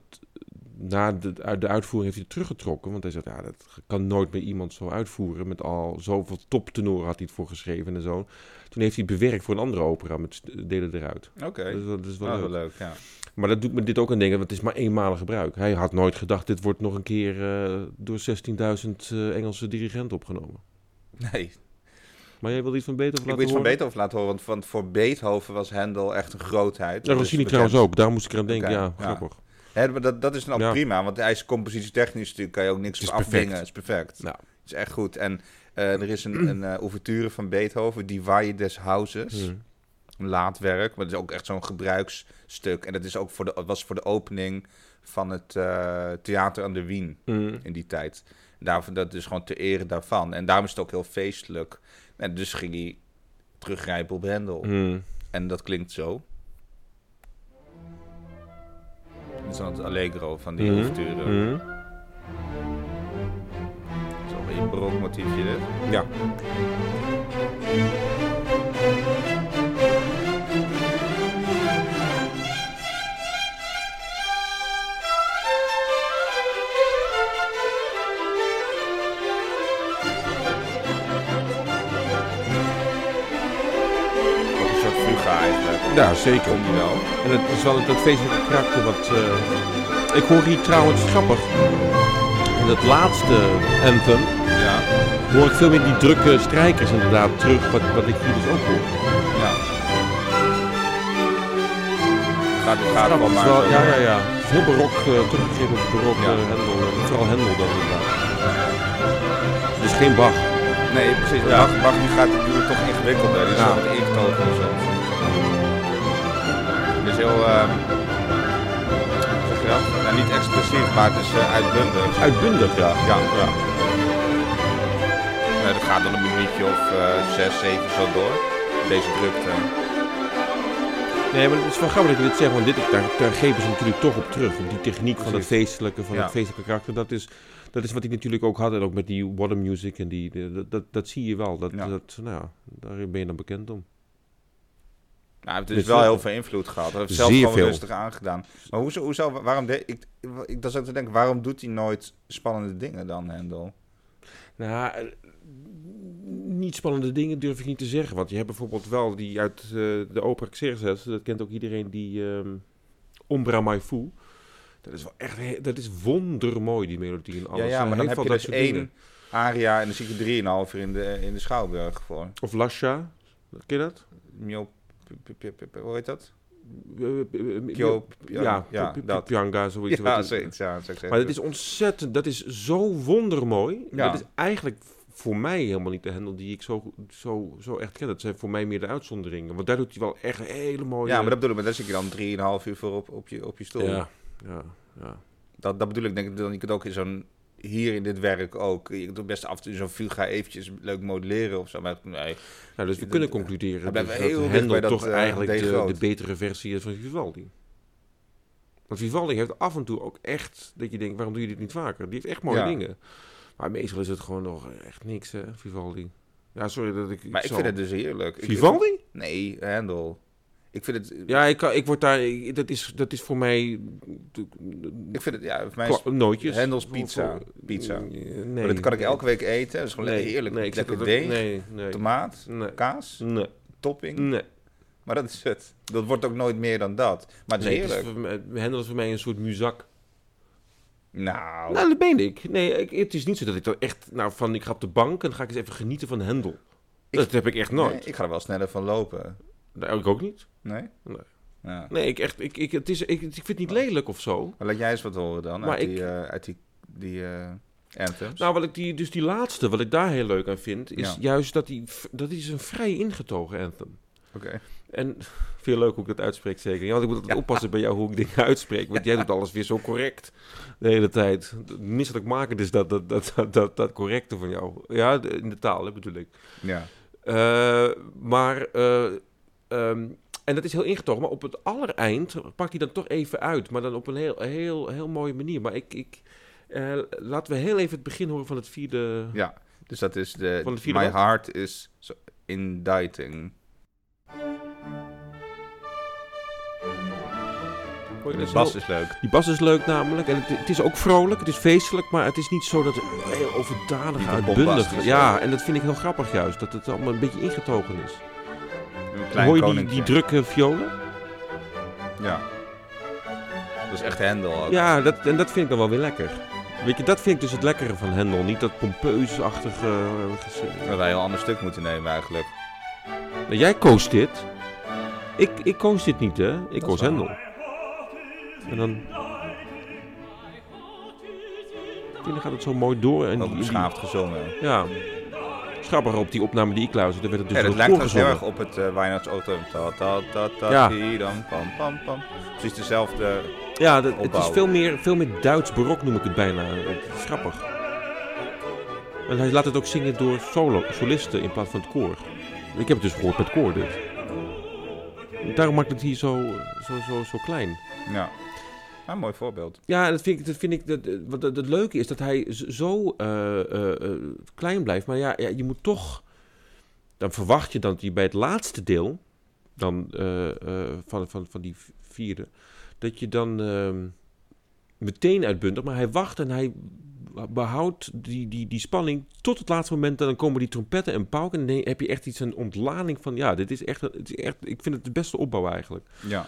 S2: na de, uit de uitvoering heeft hij het teruggetrokken. Want hij zei, ja, dat kan nooit meer iemand zo uitvoeren. Met al zoveel toptenoren had hij het voor geschreven en zo. Toen heeft hij het bewerkt voor een andere opera met st- delen eruit.
S1: Oké.
S2: Dus dat is wel
S1: Ah,
S2: leuk.
S1: wel leuk, ja.
S2: Maar dat doet me dit ook aan denken, want het is maar eenmalig gebruik. Hij had nooit gedacht, dit wordt nog een keer eh, door 16.000 eh, Engelse dirigenten opgenomen.
S1: Nee,
S2: Maar jij wilde iets van
S1: ik
S2: Beethoven
S1: wil
S2: laten
S1: iets van
S2: horen?
S1: Beethoven laten horen, want, want voor Beethoven was Hendel echt een grootheid. Dus
S2: Ja,
S1: Dat is
S2: Rossini
S1: bekend.
S2: trouwens ook, daar moest ik aan denken.
S1: Oké,
S2: ja,
S1: ja.
S2: grappig.
S1: Hè, maar dat, dat is dan ook
S2: Ja.
S1: prima, want hij is compositietechnisch natuurlijk, kan je ook niks
S2: Het is
S1: voor afdingen.
S2: perfect.
S1: Het is perfect.
S2: Ja.
S1: Het is echt goed. En eh, er is een, een eh ouverture van Beethoven, Die Waaien des Houses.
S2: Hm.
S1: Een laadwerk, maar dat is ook echt zo'n gebruiksstuk. En dat is ook voor de, was voor de opening van het eh, Theater aan de Wien
S2: Hm.
S1: in die tijd. Daarvoor, dat is gewoon te ere daarvan. En daarom is het ook heel feestelijk. En dus ging hij teruggrijpen op Hendel.
S2: Hm.
S1: En dat klinkt zo. Dat is dan het Allegro van die
S2: Mhm.
S1: ouverture.
S2: Hm.
S1: Dat is alweer een barokmotiefje dit.
S2: Ja.
S1: qua eigenlijk.
S2: Ja, zeker.
S1: Kom je wel.
S2: En het is wel dat feestelijke karakter wat... eh, Ik hoor hier trouwens grappig. In het laatste anthem
S1: Ja,
S2: hoor ik veel meer die drukke strijkers inderdaad terug, wat, wat ik hier dus ook hoor.
S1: ja. Gaat, gaat
S2: Grappig,
S1: wel
S2: het is
S1: maar.
S2: wel-
S1: zo.
S2: ja, ja, ja. Het is heel barok, eh teruggegeven op barok
S1: Ja.
S2: eh, Handel. eh, Vooral Handel dan inderdaad. Dus geen Bach.
S1: Nee, precies.
S2: Ja.
S1: Bach, Bach die gaat die doet het toch ingewikkelder. Die is
S2: Ja.
S1: wel wat ingetogen en zo. Het is heel, eh, hoe zeg je dat? Nou, niet expressief, maar het is eh, uitbundig.
S2: Uitbundig, ja.
S1: Ja, ja. Eh, dat gaat dan een minuutje of eh, zes, zeven zo door. Deze drukte.
S2: Nee, maar het is wel grappig dat je dit zegt, want dit, daar, daar geven ze natuurlijk toch op terug. Op die techniek van het
S1: Precies.
S2: feestelijke, van
S1: Ja.
S2: het feestelijke karakter. Dat is, dat is wat ik natuurlijk ook had. En ook met die water music en die, de- dat, dat, dat zie je wel. Dat,
S1: Ja.
S2: dat, nou ja, daar ben je dan bekend om.
S1: Nou, het
S2: Dit
S1: is wel
S2: wel.
S1: heel veel invloed gehad. Dat heeft zelf
S2: Zeer
S1: gewoon
S2: veel.
S1: rustig aangedaan. Maar hoezo, hoezo waarom deed ik, ik... Dat zat te denken, waarom doet hij nooit spannende dingen dan,
S2: Oh,
S1: Hendel?
S2: Nou, eh, niet spannende dingen durf ik niet te zeggen. Want je hebt bijvoorbeeld wel die uit eh, de opera Xerxes. Dat kent ook iedereen, die ehm Ombra Mai Fu. Dat is wel echt, he- dat is wondermooi, die melodie en alles.
S1: Ja, ja, maar
S2: En heel
S1: dan heb
S2: veel
S1: je
S2: dat
S1: dus
S2: soort
S1: één
S2: dingen.
S1: aria en dan zie je drieënhalf uur in de, in de Schouwburg voor.
S2: Of Lascia, ken je dat?
S1: Mio... p- p- p- p- Hoe heet dat?
S2: Kyo,
S1: Kyo-
S2: eh, ja,
S1: ja,
S2: ja,
S1: dat.
S2: Pyanga, zoiets. wat
S1: Ja,
S2: het-
S1: zoiets. Ja, zou ik zeggen.
S2: Maar dat is ontzettend, dat is zo wondermooi.
S1: Ja.
S2: Dat is eigenlijk voor mij helemaal niet de hendel die ik zo, zo, zo echt ken. Dat zijn voor mij meer de uitzonderingen. Want daar doet hij wel echt hele mooie...
S1: Ja, maar dat bedoel ik. Maar daar zit je dan drieënhalf uur voor op, op, je, op je stoel.
S2: Ja, ja, ja.
S1: Dat, dat bedoel ik. Denk ik dan, je kunt ook in zo'n... Hier in dit werk ook. Je kunt best af en toe in zo'n fuga eventjes leuk modelleren of zo. Maar nee,
S2: Nou, dus we
S1: Dat-
S2: kunnen
S1: dat-
S2: concluderen
S1: dat
S2: dat,
S1: blijft
S2: dat
S1: heel dicht
S2: Hendel
S1: bij dat,
S2: toch
S1: eh,
S2: eigenlijk
S1: D.
S2: de,
S1: Groot.
S2: de betere versie is van Vivaldi. Want Vivaldi heeft af en toe ook echt dat je denkt, waarom doe je dit niet vaker? Die heeft echt mooie
S1: Ja.
S2: dingen. Maar meestal is het gewoon nog eh, echt niks, hè, Vivaldi. Ja, sorry dat ik...
S1: Maar ik
S2: zo-
S1: vind het dus heerlijk. Ik-
S2: Vivaldi?
S1: Nee, Handel. Ik vind het...
S2: Ja, ik, kan- ik word daar... ik- dat, is, dat is voor mij...
S1: Ik vind het... Ja, voor mij is-
S2: Kla- nootjes. Mm,
S1: Hendels pizza. Pizza.
S2: Nee.
S1: Maar dat kan ik elke week eten. Dat is gewoon
S2: Nee,
S1: lekker heerlijk.
S2: Nee, ik zeg
S1: lekker
S2: dat ook-
S1: deeg,
S2: Nee, Mm. nee.
S1: tomaat,
S2: Nee.
S1: kaas,
S2: Nee.
S1: topping.
S2: Nee.
S1: Maar dat is het. Dat wordt ook nooit meer dan dat. Maar het is
S2: Nee, het is
S1: heerlijk.
S2: voor mij- Hendel is voor mij een soort muzak.
S1: Nou,
S2: Nou, dat ben ik. Nee, ik, het is niet zo dat ik dan echt, nou, van ik ga op de bank en dan ga ik eens even genieten van Hendel.
S1: Ik-
S2: dat heb ik echt nooit.
S1: nee, ik ga er wel sneller van lopen.
S2: Nou, ik ook niet.
S1: Nee?
S2: Nee.
S1: Ja.
S2: Nee, ik echt, ik, ik, het is, ik, ik vind het
S1: Oh.
S2: niet lelijk of zo.
S1: Maar laat jij eens wat horen dan
S2: Maar
S1: uit,
S2: ik-
S1: die, eh, uit die, die eh anthems.
S2: Nou, wat ik die, dus die laatste, wat ik daar heel leuk aan vind, is
S1: Ja.
S2: juist dat die, v- dat is een vrij ingetogen anthem.
S1: Oké.
S2: En veel leuk hoe ik dat uitspreek, zeker. Ja, want ik moet altijd oppassen bij jou hoe ik dingen uitspreek. Want jij doet alles weer zo correct de hele tijd. Misselijk maken is dat, dat, dat, dat, dat, dat correcte van jou. Ja, de- in de taal hè, bedoel ik.
S1: Ja.
S2: Eh, maar, eh, ehm, en dat is heel ingetogen, maar op het allereind pakt hij dan toch even uit. Maar dan op een heel, heel, heel mooie manier. Maar ik, ik, eh, laten we heel even het begin horen van het vierde.
S1: ja. Dus dat is de...
S2: Van de vierde
S1: My
S2: wat?
S1: heart is so- inditing.
S2: Hoor je
S1: De
S2: dat
S1: bas
S2: zo?
S1: is leuk.
S2: Die bas is leuk namelijk. En het, het is ook vrolijk, het is feestelijk, maar het is niet zo dat het heel overdadig
S1: Niet
S2: uitbundig
S1: bombastisch,
S2: is.
S1: hè?
S2: Ja, en dat vind ik heel grappig juist, dat het allemaal een beetje ingetogen is.
S1: Een klein
S2: Hoor je die,
S1: koninkje.
S2: die drukke violen?
S1: Ja. Dat is echt Hendel ook.
S2: Ja, dat, en dat vind ik dan wel weer lekker. Weet je, dat vind ik dus het lekkere van Hendel. Niet dat pompeusachtige... eh,
S1: We
S2: gezin.
S1: hadden een heel ander stuk moeten nemen eigenlijk.
S2: Nou, jij koos dit. Ik, ik koos dit niet, hè? Ik koos
S1: waar.
S2: Hendel. En dan... En dan gaat het zo mooi door. En
S1: Ook
S2: die- die,
S1: beschaafd gezongen.
S2: Ja. Schrappig op die opname die ik luisterde, werd het dus
S1: Ja, dat
S2: door
S1: lijkt trouwens heel
S2: voorgezongen.
S1: erg op het eh Weihnachtsauto. Ta, ta, ta, ta,
S2: Ja.
S1: die, dan, pam, pam, pam. Precies dezelfde.
S2: Ja, dat, het is
S1: opbouwen.
S2: veel meer, veel meer Duits barok noem ik het bijna. Het is grappig. En hij laat het ook zingen door solo, solisten in plaats van het koor. Ik heb het dus gehoord met koor dit. Daarom maakt het hier zo, zo, zo, zo klein.
S1: Ja. Ja, mooi voorbeeld.
S2: Ja, dat vind ik. Dat vind ik dat, eh, wat het, het leuke is dat hij z- zo eh, eh, eh, klein blijft. Maar ja, ja, je moet toch. Dan verwacht je dat hij bij het laatste deel. Dan, eh, eh, van, van, van die vierde. Dat je dan. ehm, meteen uitbundig, maar hij wacht en hij behoudt die, die, die spanning tot het laatste moment. En dan komen die trompetten en pauken. En dan heb je echt iets, een ontlading van... Ja, dit is echt, het is echt ik vind het de beste opbouw eigenlijk.
S1: Ja.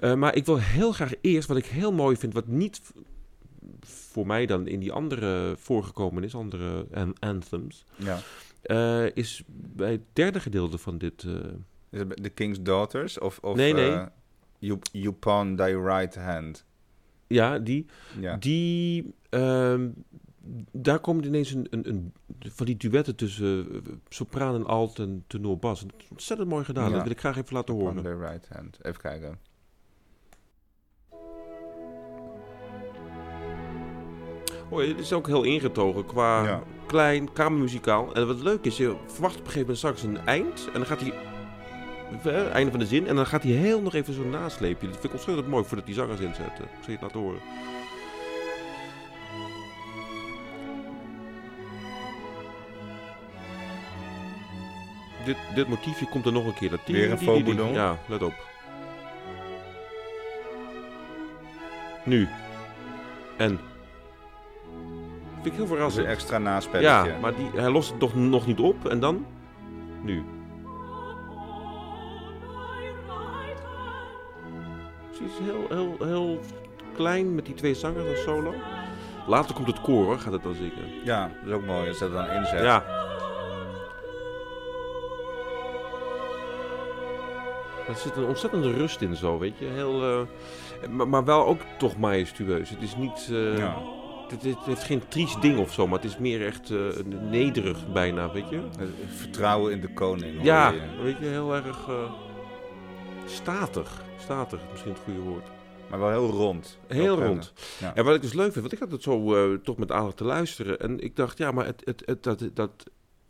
S2: Eh, maar ik wil heel graag eerst, wat ik heel mooi vind... wat niet v- voor mij dan in die andere voorgekomen is, andere an- anthems...
S1: ja.
S2: eh, is bij het derde gedeelte van dit... eh,
S1: Is het The King's Daughters of... of
S2: Nee, nee.
S1: eh, you, you pawn thy right hand.
S2: ja, die...
S1: Ja.
S2: Die. ehm, daar komen ineens een, een, een, van die duetten tussen eh, sopraan en alt en tenor bas. Dat is ontzettend mooi gedaan.
S1: Ja.
S2: Dat wil ik graag even laten
S1: Pawn
S2: horen.
S1: thy right hand. Even kijken.
S2: Oh, dit is ook heel ingetogen qua
S1: Ja.
S2: klein kamermuzikaal. En wat leuk is, je verwacht op een gegeven moment straks een eind. En dan gaat hij. eh, Einde van de zin. En dan gaat hij heel nog even zo'n nasleepje. Dat vind ik ontzettend mooi voordat die zangers inzetten. Ik zal je het laten horen. Dit, dit motiefje komt er nog een keer. Dat
S1: Weer een faux bourdon.
S2: Ja, let op. Nu. En. Vind
S1: Dat
S2: ik heel
S1: is een
S2: verrassend.
S1: extra naspelletje.
S2: Ja, maar die, hij lost het toch nog niet op. En dan? Nu. Precies, heel, heel, heel klein met die twee zangers als solo. Later komt het koor, hoor, gaat het dan zingen.
S1: Ja, dat is ook mooi als dat dan inzet.
S2: Ja. Er zit een ontzettende rust in zo, weet je. Heel, eh, maar, maar wel ook toch majestueus. Het is niet... eh,
S1: Ja.
S2: Het, het heeft geen triest ding of zo, maar het is meer echt eh, een nederig bijna, weet je.
S1: Het Vertrouwen in de koning. hoor
S2: Ja,
S1: je.
S2: weet je, heel erg eh, statig. Statig, is misschien het goede woord.
S1: Maar wel heel rond.
S2: Heel
S1: Wel
S2: rond.
S1: Ja.
S2: En wat ik dus leuk vind, want ik had het zo eh, toch met aandacht te luisteren. En ik dacht, ja, maar het, het, het, dat, dat,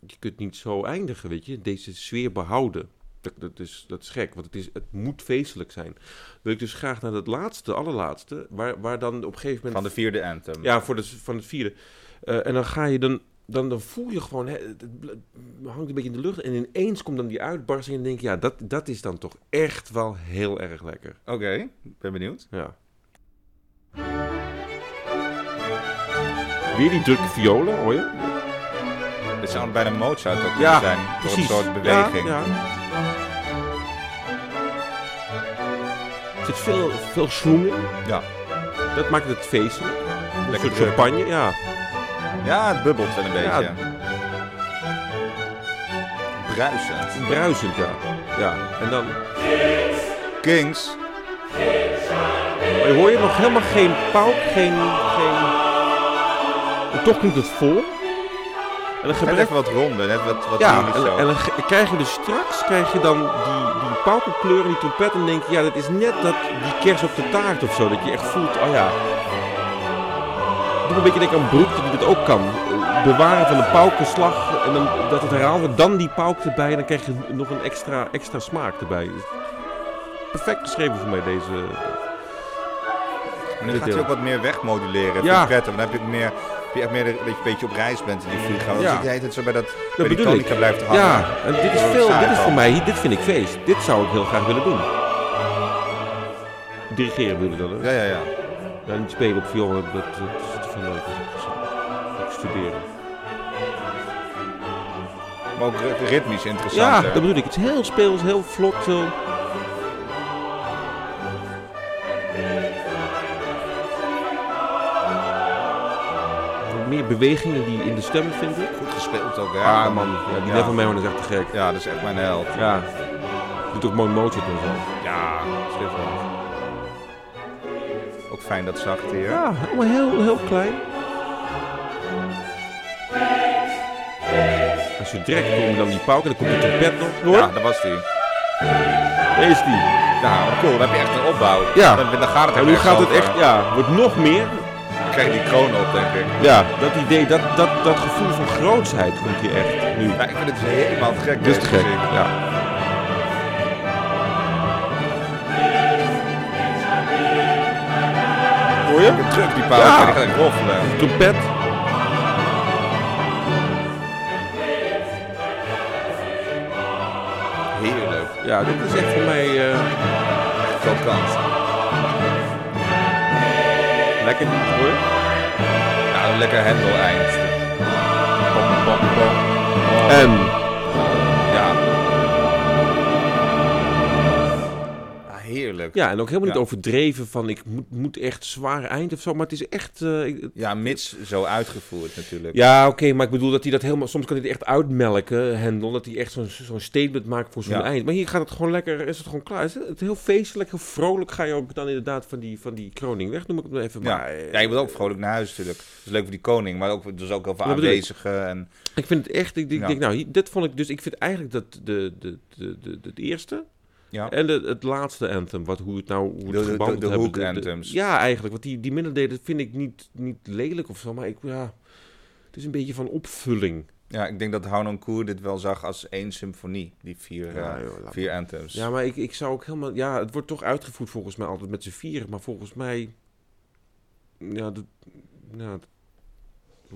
S2: je kunt niet zo eindigen, weet je. Deze sfeer behouden. Dat, dat, is, dat is gek, want het, is, het moet feestelijk zijn. Wil ik dus graag naar dat laatste, allerlaatste, waar, waar dan op een gegeven moment...
S1: Van de vierde anthem.
S2: Ja, voor de, van het vierde. Eh, en dan ga je dan, dan, dan voel je gewoon, hè, het, het bl- het hangt een beetje in de lucht. En ineens komt dan die uitbarsting en dan denk je, ja, dat, dat is dan toch echt wel heel erg lekker.
S1: Oké, ben benieuwd.
S2: Ja. Weer die drukke violen, hoor je?
S1: Dit zou bijna Mozart ook kunnen
S2: Ja,
S1: zijn. Door
S2: precies.
S1: een soort beweging.
S2: Ja, ja. Er zit veel, veel schoen in.
S1: ja.
S2: Dat maakt het feestelijk. Een
S1: Lekker
S2: soort
S1: druk.
S2: champagne, ja.
S1: Ja, het bubbelt wel een
S2: Ja.
S1: beetje. Bruisend.
S2: Bruisend, ja. Ja, en dan...
S1: Kings.
S2: Maar je hoor je nog helemaal geen pauk, geen... geen... En toch klinkt het vol. En dan
S1: Net
S2: gebrek...
S1: even wat ronder, net wat, wat
S2: Ja,
S1: jullie
S2: en,
S1: zo.
S2: en dan ge- krijg je dus straks krijg je dan die, die paukenkleur en die trompet en denk je, ja, dat is net dat, die kers op de taart of zo. Dat je echt voelt, oh ja. Ik doe een beetje denken aan Broek, die dat ook kan. Eh, Bewaren van een paukenslag en dan, dat het herhaald wordt. Dan die pauk erbij en dan krijg je nog een extra, extra smaak erbij. Perfect geschreven voor mij deze...
S1: Maar nu gaat hij ook wat meer wegmoduleren. Vind
S2: Ja.
S1: ik prettig. Want Dan heb je ook meer, heb je echt meer dat je een beetje op reis bent in die vliegtuig. Dan
S2: Ja.
S1: zit je de hele tijd zo bij, dat, bij
S2: Dat
S1: die
S2: bedoel ik.
S1: tonica blijft hangen.
S2: Ja, en dit is
S1: Dat
S2: veel.
S1: saai
S2: Dit is
S1: al.
S2: voor mij. Dit vind ik feest. Dit zou ik heel graag willen doen. Dirigeren willen we dat. hè?
S1: Ja, ja, ja.
S2: Ja, niet spelen op viool. Dat, dat is te veel leuk. Dat is- dat is Studeren.
S1: Maar ook rit- ritmisch
S2: Ja,
S1: interessanter.
S2: dat bedoel ik. Het is heel speels, heel vlot. Heel... Meer bewegingen die in de stemmen vind ik.
S1: Goed gespeeld ook, hè?
S2: Ah man, ja, die
S1: ja.
S2: Nevermind is echt te gek.
S1: Ja, dat is echt mijn held.
S2: Ja. Doet ook mooi Mozart en zo.
S1: Ja, ook fijn dat zachte hier.
S2: Ja, maar heel, heel klein. Als je direct komt dan die pauken, dan komt die trompet nog. Hoor.
S1: Ja, dat was die.
S2: Daar is die.
S1: Ja, cool. Dan heb je echt een opbouw.
S2: Ja.
S1: Dan, dan gaat het
S2: En
S1: er
S2: nu
S1: echt
S2: gaat het
S1: over.
S2: echt, ja, wordt nog meer.
S1: Dan krijg je die kroon op, denk ik.
S2: Ja, dat idee, dat, dat, dat gevoel van grootsheid komt hier echt nu.
S1: Ja, ik vind het helemaal te gek.
S2: Dus
S1: deze
S2: te gek,
S1: muziek.
S2: ja. Hoor je?
S1: Ik druk die pauw.
S2: Ja.
S1: Die gaat echt roffelen.
S2: Trompet.
S1: Heerlijk.
S2: Ja, dit is echt voor mij... eh,
S1: Veel kans.
S2: Lekker niet hoor.
S1: Ja, een lekker hendel-eind. Pom, pom, pom. Oh,
S2: En
S1: ja. Ah, heerlijk.
S2: ja, en ook helemaal niet
S1: Ja.
S2: overdreven van ik moet, moet echt zwaar eind of zo. Maar het is echt. eh, ik-
S1: Ja, mits zo uitgevoerd natuurlijk.
S2: ja, oké, maar ik bedoel dat hij dat helemaal. Soms kan hij het echt uitmelken, Hendel. Dat hij echt zo'n zo'n statement maakt voor zo'n
S1: Ja.
S2: eind. Maar hier gaat het gewoon lekker. Is het gewoon klaar? Is het, het heel feestelijk, heel vrolijk. Ga je ook dan inderdaad van die, van die kroning weg? Noem ik het maar even.
S1: Ja.
S2: Maar, eh,
S1: Ja, je moet ook vrolijk naar huis natuurlijk. Dat is leuk voor die koning, maar ook, dus ook heel veel
S2: Dat bedoel ik.
S1: aanwezigen. En,
S2: Ik vind het echt, ik denk,
S1: Ja.
S2: denk, nou, hier- dit vond ik dus, ik vind eigenlijk dat de, de, de, de, de- het eerste
S1: ja.
S2: en de, het laatste anthem, wat, hoe het nou, hoe
S1: De-
S2: het
S1: de-
S2: geband
S1: de- de
S2: hebben,
S1: hoek-anthems.
S2: ja, eigenlijk, want die, die middendelen vind ik niet, niet lelijk of zo, maar ik, ja, het is een beetje van opvulling.
S1: ja, ik denk dat Hounon Koer dit wel zag als één symfonie, die vier, eh,
S2: Ja, joh, laat
S1: vier anthems.
S2: Ja, maar ik, ik zou ook helemaal, ja, het wordt toch uitgevoerd volgens mij altijd met z'n vieren, maar volgens mij, ja, dat, ja, dat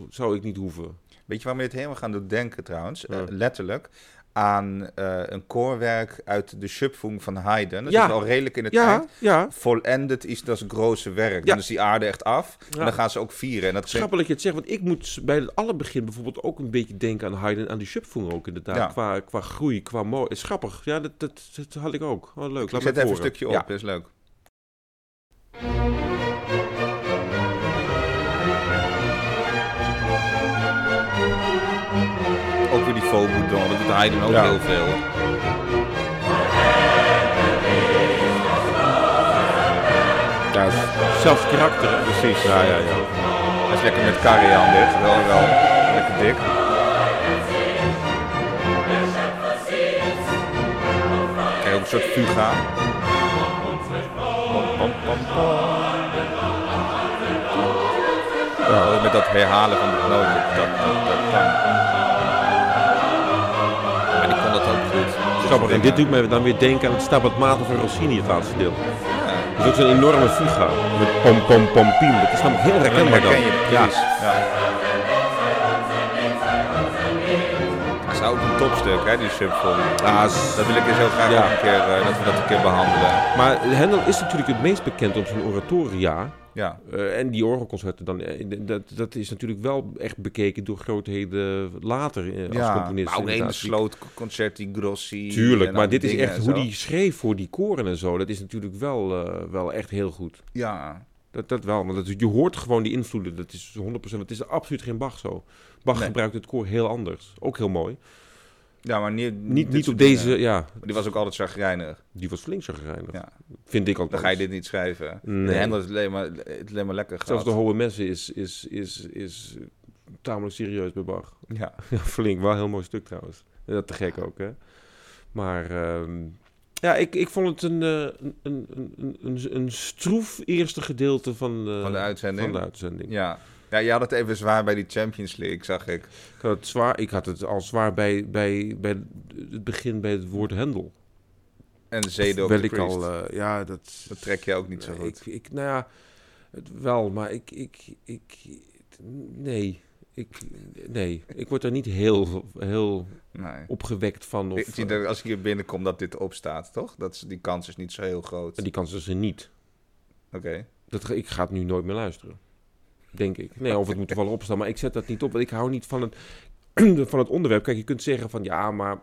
S2: zou ik niet hoeven.
S1: Weet je waar me dit helemaal gaan doet denken trouwens?
S2: Ja.
S1: Eh, letterlijk. Aan eh, een koorwerk uit de Schöpfung van Haydn. Dat
S2: Ja.
S1: zit al redelijk in het eind.
S2: Ja, ja.
S1: Vollendet is dat grote werk.
S2: Ja.
S1: Dan is die aarde echt af.
S2: Ja.
S1: En dan gaan ze ook vieren. En dat
S2: Het is grappig dat je het zegt, want ik moet bij het allerbegin bijvoorbeeld ook een beetje denken aan Haydn, aan die Schöpfung ook inderdaad.
S1: Ja.
S2: Qua, qua groei, qua mooi. Het is grappig, ja, dat, dat, dat had ik ook. Oh, leuk,
S1: Ik zet
S2: laat maar
S1: even een
S2: horen.
S1: stukje op,
S2: Ja.
S1: dat is leuk. Ook weer die faux boudon, dat doet Haydn ook
S2: Ja.
S1: heel veel. Ja,
S2: Zelfs karakter. hè?
S1: precies. Ja, ja, ja. Hij is lekker met curry aan dit, wel, wel lekker dik. Kijk, ook een soort fuga. Pom, pom, pom, pom. Ja, ook met dat herhalen van de noten. Dat, dat, dat, dat. Maar die kon dat ook goed.
S2: Grappig, en dit
S1: doet
S2: doet mij dan weer denken aan het Stabat Mater van Rossini, het laatste deel. Dat is ook zo'n enorme fuga, met pom pom pom piem. Dat is namelijk heel herkenbaar dan.
S1: herken je
S2: ja.
S1: precies. Ja. Dat is ook een topstuk, hè, die symfonie.
S2: Ah, s-
S1: dat wil ik eens heel graag
S2: Ja.
S1: nog een keer, eh, dat we dat een keer behandelen.
S2: Maar Hendel is natuurlijk het meest bekend om zijn oratoria.
S1: Ja,
S2: Eh, en die orgelconcerten dan, eh, dat, dat is natuurlijk wel echt bekeken door grootheden later eh, als
S1: ja.
S2: componist.
S1: maar ook een
S2: inderdaad.
S1: slootconcert, die Grossi.
S2: Tuurlijk,
S1: en
S2: maar
S1: al die
S2: dit is
S1: dingen
S2: echt
S1: en
S2: hoe
S1: zo.
S2: die schreef voor die koren en zo. Dat is natuurlijk wel, eh, wel echt heel goed.
S1: Ja,
S2: Dat, dat wel, want dat, je hoort gewoon die invloeden. Dat is 100%. want Het is absoluut geen Bach zo. Bach
S1: Nee.
S2: gebruikt het koor heel anders. Ook heel mooi.
S1: ja maar niet,
S2: Niet,
S1: dit
S2: niet op
S1: soort
S2: deze,
S1: dingen.
S2: ja.
S1: Maar Die was ook altijd chagrijnig.
S2: Die was flink zo gereinigd.
S1: Ja.
S2: Vind ik ook.
S1: Dan ga je dit niet schrijven.
S2: Nee.
S1: De Hendel is alleen maar, het alleen maar lekker
S2: Zelfs
S1: gehad.
S2: de Hohe Messen is, is, is, is eh, tamelijk serieus bij Bach.
S1: Ja.
S2: Ja, (laughs) Flink, wel een heel mooi stuk trouwens. Ja, Dat te gek ook, hè? Maar ehm, ja, ik, ik vond het een, eh, een, een, een, een, een stroef eerste gedeelte van de,
S1: Van de uitzending.
S2: Van de uitzending.
S1: Ja. ja, je had het even zwaar bij die Champions League, zag ik.
S2: Ik, had het zwaar, ik had het al zwaar bij, bij, bij het begin bij het woord hendel.
S1: En Zedok
S2: Wel
S1: de
S2: ik
S1: Priest.
S2: al, eh, ja, dat,
S1: Dat trek je ook niet zo
S2: Nee,
S1: goed.
S2: Ik, ik, nou ja, het wel, maar ik, ik, ik, nee. Ik, nee, ik word er niet heel, heel
S1: Nee.
S2: opgewekt van. Of, eh,
S1: Ik zie dat als ik hier binnenkom dat dit opstaat, toch? Dat is, die kans is niet zo heel groot.
S2: eh,
S1: Oké.
S2: die kans is er niet. Dat, ga- ik ga het nu nooit meer luisteren. Denk ik. Nee, of het moet er wel opstaan. Maar ik zet dat niet op. Want ik hou niet van het, (clears throat) van het onderwerp. Kijk, je kunt zeggen van ja, maar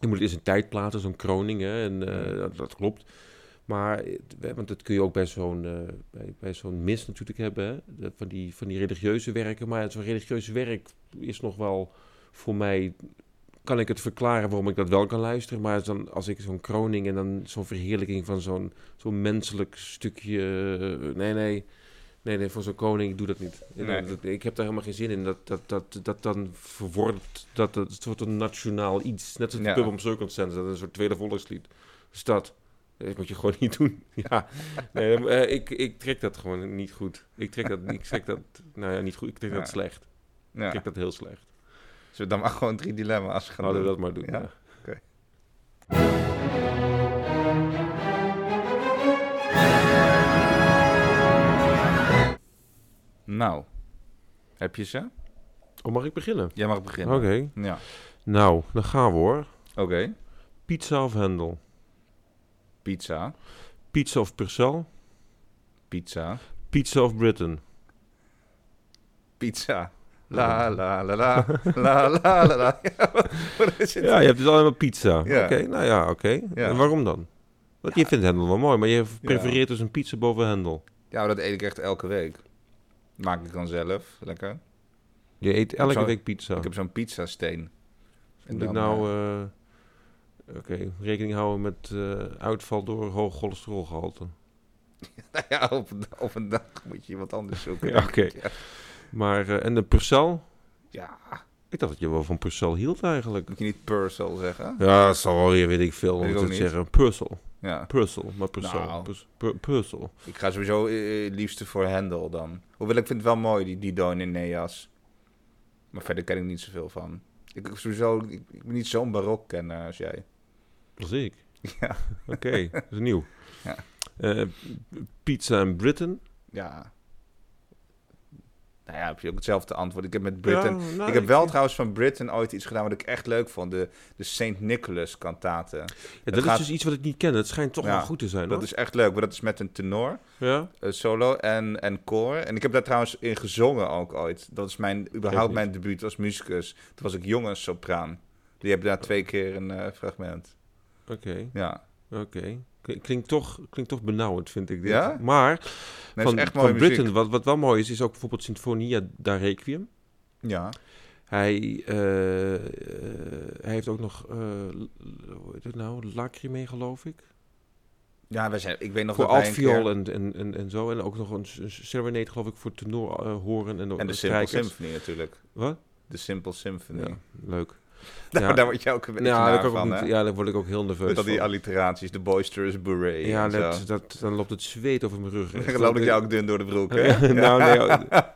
S2: je moet het eens een tijd plaatsen, zo'n kroning. Hè, en eh, dat, dat klopt. Maar, het- want dat kun je ook bij zo'n eh, bij, bij zo'n mis natuurlijk hebben. Hè, dat- van, die, van die religieuze werken. Maar zo'n religieus werk is nog wel voor mij. Kan ik het verklaren waarom ik dat wel kan luisteren? Maar dan, als ik zo'n kroning en dan zo'n verheerlijking van zo'n zo'n menselijk stukje. eh, Nee, nee. Nee, nee, voor zo'n koning ik doe dat niet.
S1: Nee.
S2: Dat- Ik heb daar helemaal geen zin in. Dat, dat, dat, dat dan verwort, dat, dat, het wordt een nationaal iets. Net als de
S1: Ja.
S2: Pub om Circumstance, dat is een soort tweede volkslied. Dus dat, eh, moet je gewoon niet doen. (laughs) ja, nee, eh, ik, ik trek dat gewoon niet goed. Ik trek dat, ik trek dat nou ja, niet goed. Ik trek dat
S1: Ja.
S2: slecht. Ik
S1: Ja.
S2: trek dat heel slecht.
S1: Zullen we dan maar (laughs) gewoon drie dilemma's gaan
S2: Laten we
S1: doen?
S2: dat maar doen.
S1: Ja.
S2: ja.
S1: Nou, heb je ze?
S2: Oh, mag ik beginnen?
S1: Jij mag beginnen.
S2: Oké.
S1: Ja.
S2: Nou, dan gaan we hoor.
S1: Oké.
S2: Pizza of Hendel?
S1: Pizza.
S2: Pizza of Purcell?
S1: Pizza.
S2: Pizza of Britain.
S1: Pizza. La la la la. La la la (laughs) la. Ja, wat- wat is het?
S2: Ja, je hebt dus allemaal pizza.
S1: Ja.
S2: Oké, nou ja, oké.
S1: Ja.
S2: En waarom dan? Want je vindt Hendel wel mooi, maar je prefereert dus een pizza boven Hendel.
S1: Ja, maar dat eet ik echt elke week. Maak ik dan zelf. Lekker.
S2: Je eet elke
S1: zou-
S2: week pizza.
S1: Ik heb zo'n pizzasteen. En
S2: Moet ik
S1: dan,
S2: nou... eh, Oké, rekening houden met eh, uitval door hoog cholesterolgehalte.
S1: eh, nou (laughs) ja, op, een- op een dag moet je iemand anders zoeken.
S2: Ja, oké.
S1: Ja.
S2: Maar, eh, en de Purcell?
S1: Ja,
S2: Ik dacht dat je wel van Purcell hield eigenlijk.
S1: moet je niet Purcell zeggen?
S2: Ja, dat zal wel weer, weet ik veel,
S1: Weet
S2: hoe
S1: ik
S2: ik
S1: ook
S2: het
S1: niet.
S2: zeggen. Purcell.
S1: Ja.
S2: Purcell, maar Purcell.
S1: Nou.
S2: Purs- Pur- Purcell.
S1: Ik ga sowieso eh, eh, liefste voor Hendel dan. Hoewel ik vind het wel mooi, die, die Don in Neas. Maar verder ken ik niet zoveel van. Ik, ik sowieso, ik, ik ben niet zo'n barok kenner als jij.
S2: Dat zie ik.
S1: (laughs) Ja.
S2: Oké, dat is nieuw.
S1: Ja.
S2: Eh, pizza in Britain.
S1: Ja. Nou ja, heb je ook hetzelfde antwoord. Ik heb met Britain...
S2: Ja, nou,
S1: ik heb wel trouwens van Britain ooit iets gedaan wat ik echt leuk vond. De, de St. Nicholas kantaten.
S2: Ja, dat
S1: het gaat-
S2: is dus iets wat ik niet ken. Het schijnt toch
S1: Ja,
S2: wel goed te zijn,
S1: Dat
S2: hoor.
S1: is echt leuk, maar dat is met een tenor,
S2: Ja?
S1: eh, solo en, en koor. En ik heb daar trouwens in gezongen ook ooit. Dat is mijn, überhaupt
S2: niet.
S1: mijn debuut als muzikus. Toen was ik jong en sopraan. Die hebben daar twee keer een eh, fragment.
S2: Oké,
S1: Ja,
S2: oké. Kli- Klinkt toch, klinkt toch benauwd, vind ik dit.
S1: Ja?
S2: Maar
S1: nee,
S2: van,
S1: is echt mooie
S2: van
S1: muziek.
S2: Britain, wat, wat wel mooi is, is ook bijvoorbeeld Sinfonia da Requiem.
S1: Ja,
S2: Hij, eh, eh, hij heeft ook nog, eh, l- hoe heet het nou, Lacrimae geloof ik.
S1: ja wij zijn, ik weet nog
S2: voor
S1: dat wij een
S2: altviool en, en, en, en zo. En ook nog een, s- een serenade geloof ik voor tenor, eh, horen en,
S1: keer- En de Simple
S2: strijkers.
S1: Symphony natuurlijk.
S2: Wat?
S1: De Simple Symphony.
S2: Ja, leuk.
S1: (laughs) Daar,
S2: Ja.
S1: daar word je ook een beetje
S2: Ja,
S1: naar
S2: daar kan ik ook
S1: van,
S2: niet-
S1: hè?
S2: ja, daar word ik ook heel nerveus
S1: Met al die
S2: van.
S1: alliteraties, de boisterous beret
S2: Ja,
S1: en (laughs) zo.
S2: dat, dat, dan loopt het zweet over mijn
S1: (laughs)
S2: rug.
S1: Dan loop ik jou ook dun door de broek, hè?
S2: Ja, (laughs) nou, nee, oh,
S1: (laughs)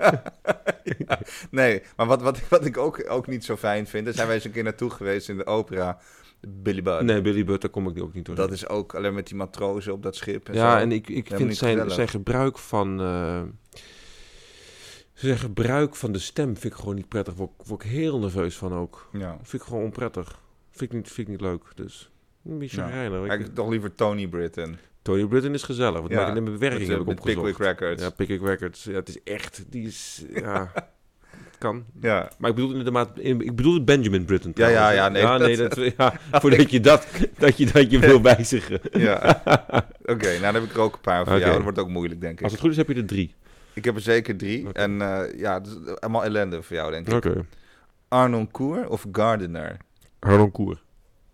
S1: Nee, maar wat, wat, wat ik ook, ook niet zo fijn vind... daar zijn wij eens een keer naartoe geweest in de opera. Billy (laughs) Budd.
S2: oh, nee, Billy Butt, daar kom ik ook niet door.
S1: Dat is ook alleen met die matrozen op dat schip. En
S2: ja,
S1: zo.
S2: en ik, ik
S1: Helemaal
S2: vind
S1: niet
S2: zijn,
S1: gezellig.
S2: zijn gebruik van... eh, zijn gebruik van de stem vind ik gewoon niet prettig. Word, ik- word ik heel nerveus van ook.
S1: Ja.
S2: Vind ik gewoon onprettig. Vind ik niet, vind ik niet leuk, dus... Een beetje
S1: Ja.
S2: chagrijnig. Ik-
S1: Eigenlijk toch liever Tony Britton.
S2: Tony Britton is gezellig. Wat
S1: Ja,
S2: maak ik in de bewerking
S1: met,
S2: heb ik
S1: eh, met
S2: opgezocht.
S1: Pickwick Records.
S2: Ja,
S1: Ja.
S2: Pickwick Records. Ja, het is echt... Die is... Ja, het kan.
S1: Ja.
S2: Maar ik bedoel inderdaad, ik bedoel Benjamin Britten.
S1: Ja, ja,
S2: trouwens.
S1: ja, nee, dat-
S2: nee, dat, ja, (laughs) voordat je dat, dat je dat je
S1: (laughs)
S2: wil wijzigen. (laughs)
S1: Oké, nou dan heb ik er ook een paar voor
S2: Oké.
S1: jou. Dat wordt ook moeilijk, denk ik.
S2: Als het goed is, heb je er drie.
S1: Ik heb er zeker drie.
S2: Oké.
S1: En eh, ja, het is allemaal ellende voor jou, denk ik.
S2: Oké.
S1: Arnon Koer of Gardiner?
S2: Harlan Koer.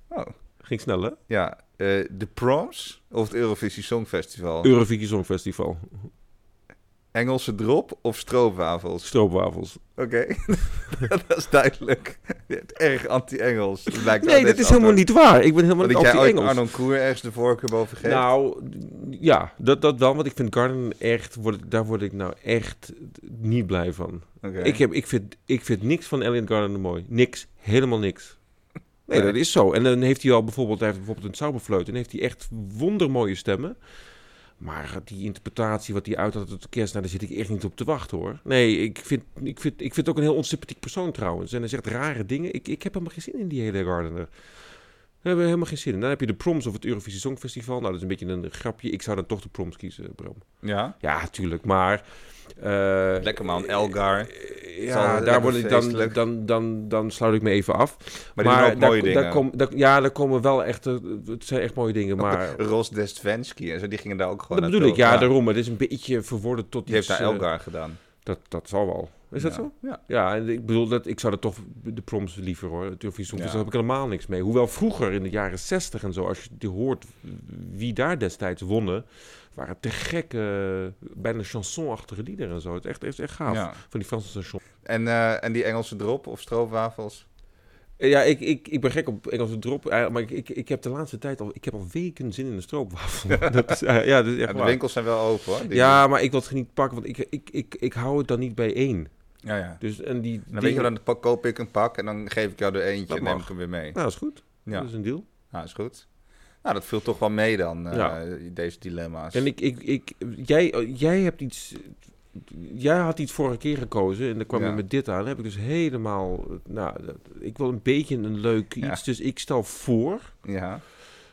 S1: Oh.
S2: Ging snel, hè?
S1: Ja, eh, de Proms of het Eurovisie Songfestival?
S2: Eurovisie Songfestival.
S1: Engelse drop of stroopwafels?
S2: Stroopwafels.
S1: Oké, (laughs) dat is duidelijk. Erg anti-Engels. Het lijkt wel
S2: Nee, dat
S1: deze
S2: is helemaal
S1: antwoord.
S2: niet waar. Ik ben helemaal
S1: Want
S2: niet
S1: eh, dat jij ooit
S2: anti-Engels.
S1: Arnon Koer ergens de voorkeur boven geeft?
S2: Nou, ja, dat, dat wel. Want ik vind Garden echt... Word, ik- daar word ik nou echt niet blij van.
S1: Oké.
S2: Ik, heb, ik, vind, ik vind niks van Elliot Gardner mooi. Niks. Helemaal niks. Nee,
S1: Nee.
S2: dat is zo. En dan heeft hij al bijvoorbeeld, hij heeft bijvoorbeeld een sauberfleut. En heeft hij echt wondermooie stemmen. Maar die interpretatie wat hij uit had op de kerst, nou, daar zit ik echt niet op te wachten hoor. Nee, ik vind, ik vind, ik vind ook een heel onsympathiek persoon trouwens. En hij zegt rare dingen. Ik, ik heb helemaal geen zin in die hele Gardner. Daar hebben we helemaal geen zin in. Dan heb je de proms of het Eurovisie Songfestival. Nou, dat is een beetje een grapje. Ik zou dan toch de proms kiezen, Bram.
S1: Ja?
S2: Ja, tuurlijk. Maar... eh,
S1: Lekker man, Elgar. zal
S2: ja, daar
S1: lekker
S2: word ik dan,
S1: feestelijk.
S2: dan, dan, dan sluit ik me even af.
S1: Maar die doen ook
S2: daar,
S1: mooie dingen.
S2: Daar kom, daar- ja, daar komen wel echt, eh, het zijn echt mooie dingen, maar...
S1: Ros Destvenski en zo, die gingen daar ook gewoon
S2: dat bedoel ik,
S1: naartoe.
S2: ja, daarom. maar Het is een beetje verworden tot
S1: Die heeft
S2: iets...
S1: daar
S2: eh,
S1: Elgar gedaan.
S2: dat, dat zal wel. Is dat
S1: Ja.
S2: zo?
S1: Ja.
S2: Ja, en ik bedoel, dat, ik zou dat toch de proms liever hoor. Het Eurovisie Songfestival
S1: Ja.
S2: dus heb ik helemaal niks mee. Hoewel vroeger, in de jaren zestig en zo, als je die hoort wie daar destijds wonnen, waren het te gekke, bijna chansonachtige liederen en zo. Het is echt, echt, echt gaaf.
S1: Ja.
S2: Van die Franse chansons.
S1: En, eh, en die Engelse drop of stroopwafels?
S2: Eh, Ja, ik, ik, ik ben gek op Engelse drop, eh, maar ik, ik, ik heb de laatste tijd al, ik heb al weken zin in een
S1: (laughs)
S2: stroopwafel. dat is, eh, ja, dat is
S1: Ja,
S2: echt
S1: de
S2: waar.
S1: winkels zijn wel open hoor. Die-
S2: Ja, maar ik wil het niet pakken, want ik, ik, ik, ik hou het dan niet bij één.
S1: ja, ja.
S2: Dus, en die
S1: Dan weet je,
S2: dingen-
S1: dan pak- koop ik een pak en dan geef ik jou er eentje
S2: Dat
S1: en neem
S2: mag.
S1: ik hem weer mee.
S2: Nou, dat is goed.
S1: Ja,
S2: Dat is een deal.
S1: nou is goed. Nou, dat viel toch wel mee dan, eh,
S2: Ja.
S1: deze dilemma's.
S2: En ik, ik, ik, jij, eh, jij hebt iets... Jij had iets vorige keer gekozen en dan kwam
S1: Ja.
S2: je met dit aan. Dan heb ik dus helemaal... Nou, dat- ik wil een beetje een leuk
S1: Ja.
S2: iets. Dus ik stel voor...
S1: Ja,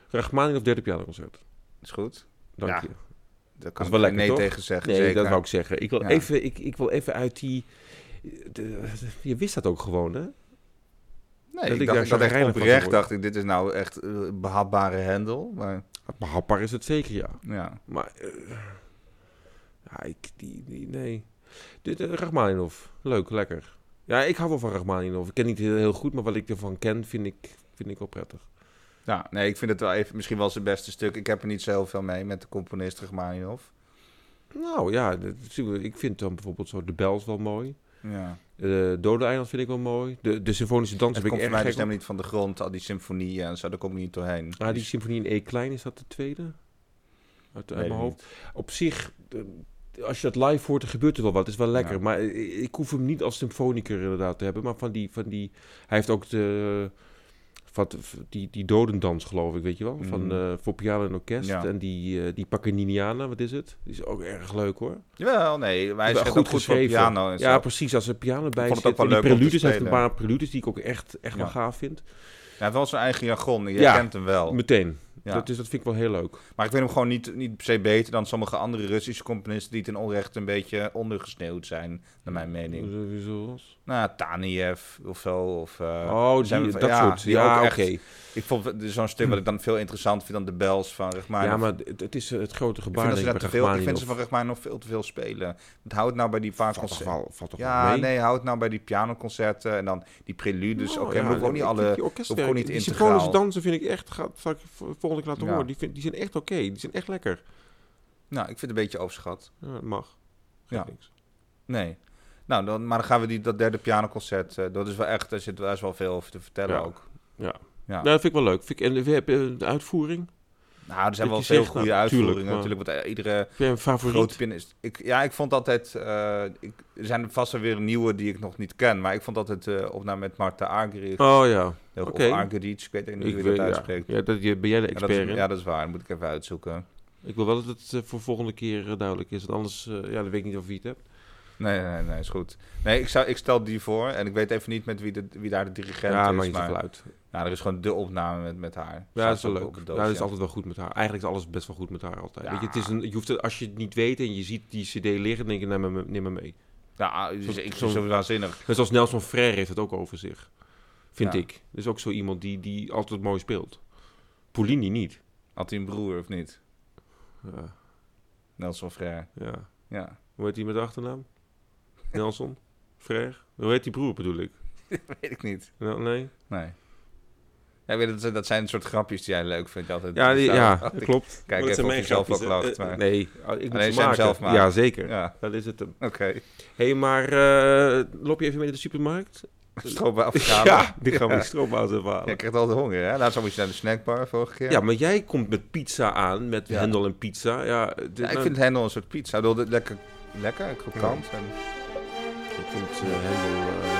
S2: Rachmaninov derde pianoconcert.
S1: is goed.
S2: Dank
S1: Ja.
S2: je.
S1: Daar
S2: Dat
S1: kan
S2: is
S1: ik
S2: wel lekker,
S1: nee
S2: toch?
S1: tegen zeggen.
S2: Nee,
S1: zeker.
S2: dat wou ik zeggen. Ik wil,
S1: Ja.
S2: even, ik, ik wil even uit die... de- de- je wist dat ook gewoon, hè?
S1: Nee,
S2: dat
S1: ik
S2: ik
S1: dacht,
S2: daar
S1: ik dacht echt
S2: chagrijnig van
S1: oprecht,
S2: word.
S1: dacht ik, dit is nou echt eh, behapbare hendel. Maar
S2: Behapbaar is het zeker, ja.
S1: ja,
S2: Maar... eh, ja, ik... Die, die, nee. Dit, eh, Rachmaninoff. Leuk, lekker. Ja, ik hou wel van Rachmaninoff. Ik ken niet heel, heel goed, maar wat ik ervan ken, vind ik, vind ik wel prettig.
S1: ja nee, ik vind het wel even, misschien wel zijn beste stuk. Ik heb er niet zo heel veel mee met de componist Rachmaninoff.
S2: Nou ja, dat- ik vind dan bijvoorbeeld zo de Bells wel mooi. Eh,
S1: Ja.
S2: De Dode Eiland vind ik wel mooi. De, de Symfonische Dans
S1: Het
S2: heb ik
S1: komt voor
S2: erg
S1: mij dus
S2: gek op.
S1: helemaal niet van de grond, al die symfonieën en zo, daar kom ik niet doorheen.
S2: Ah, die
S1: Dus-
S2: symfonie in E klein, is dat de tweede? Uit, uit
S1: Weet
S2: mijn
S1: ik
S2: hoofd. Op zich, eh, als je dat live hoort, dan gebeurt er wel wat. Het is wel lekker.
S1: Ja.
S2: Maar eh, ik hoef hem niet als symfoniker inderdaad te hebben. Maar van die, van die hij heeft ook de, wat, die, die dodendans, geloof ik, weet je wel. Van,
S1: Mhm.
S2: eh, voor piano en orkest.
S1: Ja.
S2: En die, eh, die Paganiniana, wat is het? Die is ook erg leuk hoor.
S1: Jawel, nee, maar hij
S2: Wel
S1: is goed, goed
S2: goed
S1: voor
S2: geschreven.
S1: piano en zo.
S2: Ja, precies. Als er piano bij
S1: vond het
S2: zit.
S1: ook wel
S2: en die
S1: leuk om te
S2: preludes, hij heeft een
S1: spelen.
S2: paar preludes die ik ook echt, echt wel
S1: Ja.
S2: gaaf vind.
S1: Hij heeft wel zijn eigen jargon, je
S2: Ja.
S1: kent hem wel.
S2: Meteen.
S1: Ja.
S2: Dat, is, dat vind ik wel heel leuk.
S1: Maar ik vind hem gewoon niet, niet per se beter dan sommige andere Russische componisten die ten onrechte een beetje ondergesneeuwd zijn, naar mijn mening.
S2: Wie zoals?
S1: Nou, Taniev of zo. Of, eh,
S2: oh, die,
S1: zijn we-
S2: dat
S1: ja,
S2: soort.
S1: die
S2: Ja,
S1: ook
S2: oké.
S1: echt- ik vond het- zo'n stuk wat ik dan veel interessanter vind dan de Bells van Rachmaninoff.
S2: Ja, maar het, het is eh, het grote
S1: ik
S2: gebaar.
S1: vind, dat ze
S2: denk
S1: daar te
S2: bij
S1: veel, ik vind ze
S2: Rachmaninoff.
S1: van Rachmaninoff veel te veel spelen. Het houdt nou bij die paar
S2: Valt toch
S1: concerten.
S2: wel, valt toch wel
S1: Ja,
S2: mee?
S1: nee, houdt nou bij die pianoconcerten en dan die preludes.
S2: Nou,
S1: Oké,
S2: ja,
S1: maar we hoeven ook
S2: dan-
S1: niet
S2: ik
S1: alle...
S2: vind die orkestwerken,
S1: ook niet
S2: die
S1: integraal.
S2: symfonische dansen vind ik echt, ga, zal ik je vo- volgende keer laten
S1: Ja.
S2: horen. Die, vind, die zijn echt oké, die zijn echt lekker.
S1: Nou, ik vind het een beetje overschat.
S2: Ja, dat mag.
S1: Ja.
S2: Ja. Niks.
S1: Nee. Nou, dan, maar dan gaan we die, dat derde pianoconcert. eh, dat is wel echt, daar zit wel- daar is wel veel over te vertellen
S2: Ja.
S1: ook.
S2: Ja.
S1: Ja.
S2: Nou, dat vind ik wel leuk. Vind ik, en we hebben de uitvoering.
S1: Nou, er zijn
S2: Dat
S1: wel
S2: je
S1: veel
S2: zegt,
S1: goede
S2: nou, tuurlijk,
S1: uitvoeringen
S2: maar-
S1: natuurlijk. Want eh, iedere
S2: Heb jij een favoriet?
S1: grote pianist... Ik, ja, ik vond altijd... eh, ik, er zijn vast wel weer nieuwe die ik nog niet ken. Maar ik vond altijd eh opname met Marta Argerich.
S2: Oh ja.
S1: heel
S2: oké.
S1: Of Argerich, ik weet niet
S2: Ik
S1: hoe je
S2: weet-
S1: dat uitspreekt.
S2: Ja, ja dat, je, ben jij de
S1: Ja,
S2: expert
S1: dat is-
S2: in?
S1: ja, dat is waar. moet ik even uitzoeken.
S2: Ik wil wel dat het eh, voor volgende keer eh, duidelijk is. Want anders, eh, ja, dan weet ik niet of je het hebt.
S1: Nee, nee, nee, is goed. Nee, ik, zou, ik stel die voor. En ik weet even niet met wie, de, wie daar de dirigent
S2: ja, maakt
S1: is.
S2: niet
S1: Maar
S2: zoveel uit.
S1: nou, er is gewoon de opname met, met haar.
S2: Ja,
S1: Staat
S2: dat is wel
S1: ook
S2: leuk.
S1: op het
S2: Ja,
S1: doosje.
S2: dat is altijd wel goed met haar. Eigenlijk is alles best wel goed met haar altijd.
S1: Ja.
S2: Weet je, het is een, je hoeft het, als je het niet weet en je ziet die cd liggen, dan denk je, neem me, neem me mee.
S1: Ja, dus ik vind
S2: zo'n-
S1: het zo waanzinnig.
S2: Net zoals Nelson Frère heeft het ook over zich. Vind
S1: Ja.
S2: ik. Dat is ook zo iemand die, die altijd mooi speelt. Polini niet.
S1: Had hij een broer of niet?
S2: Ja,
S1: Nelson Frère.
S2: ja.
S1: Ja. (laughs)
S2: Hoe heet die met de achternaam? Nelson? Frère? Hoe heet die broer bedoel ik?
S1: Weet ik niet.
S2: Nou, nee?
S1: Nee. Ja, ik weet, dat, dat zijn een soort grapjes die jij leuk vindt. Altijd (laughs)
S2: Ja, die,
S1: Zo.
S2: ja
S1: Ik
S2: klopt.
S1: Kijk
S2: Maar dat
S1: even
S2: zijn
S1: of
S2: mijn
S1: je zelf ook
S2: grapjes,
S1: lacht.
S2: hè.
S1: Maar...
S2: Nee, oh, ik moet
S1: Nee,
S2: ze
S1: ze hem
S2: maken.
S1: zelf maken.
S2: Ja, zeker.
S1: Ja,
S2: Dat is het hem.
S1: oké. (laughs)
S2: Hé, hey, maar eh, loop je even mee naar de supermarkt?
S1: Stroop bij afgaan.
S2: Ja, die gaan we
S1: Ja.
S2: die stroopbaas
S1: Ja, Je
S2: ervaren.
S1: krijgt altijd honger, hè? Laatst moest je naar de snackbar vorige keer.
S2: Ja, maar jij komt met pizza aan, met
S1: Ja.
S2: hendel en pizza. Ja, dit-
S1: Ja, ik
S2: nou,
S1: vind hendel een soort pizza. Ik bedoel, dit Lekker, lekker, krokant. En...
S2: ik vind, eh, hendel... eh,
S1: (laughs)
S2: Nou,
S1: nou, eh,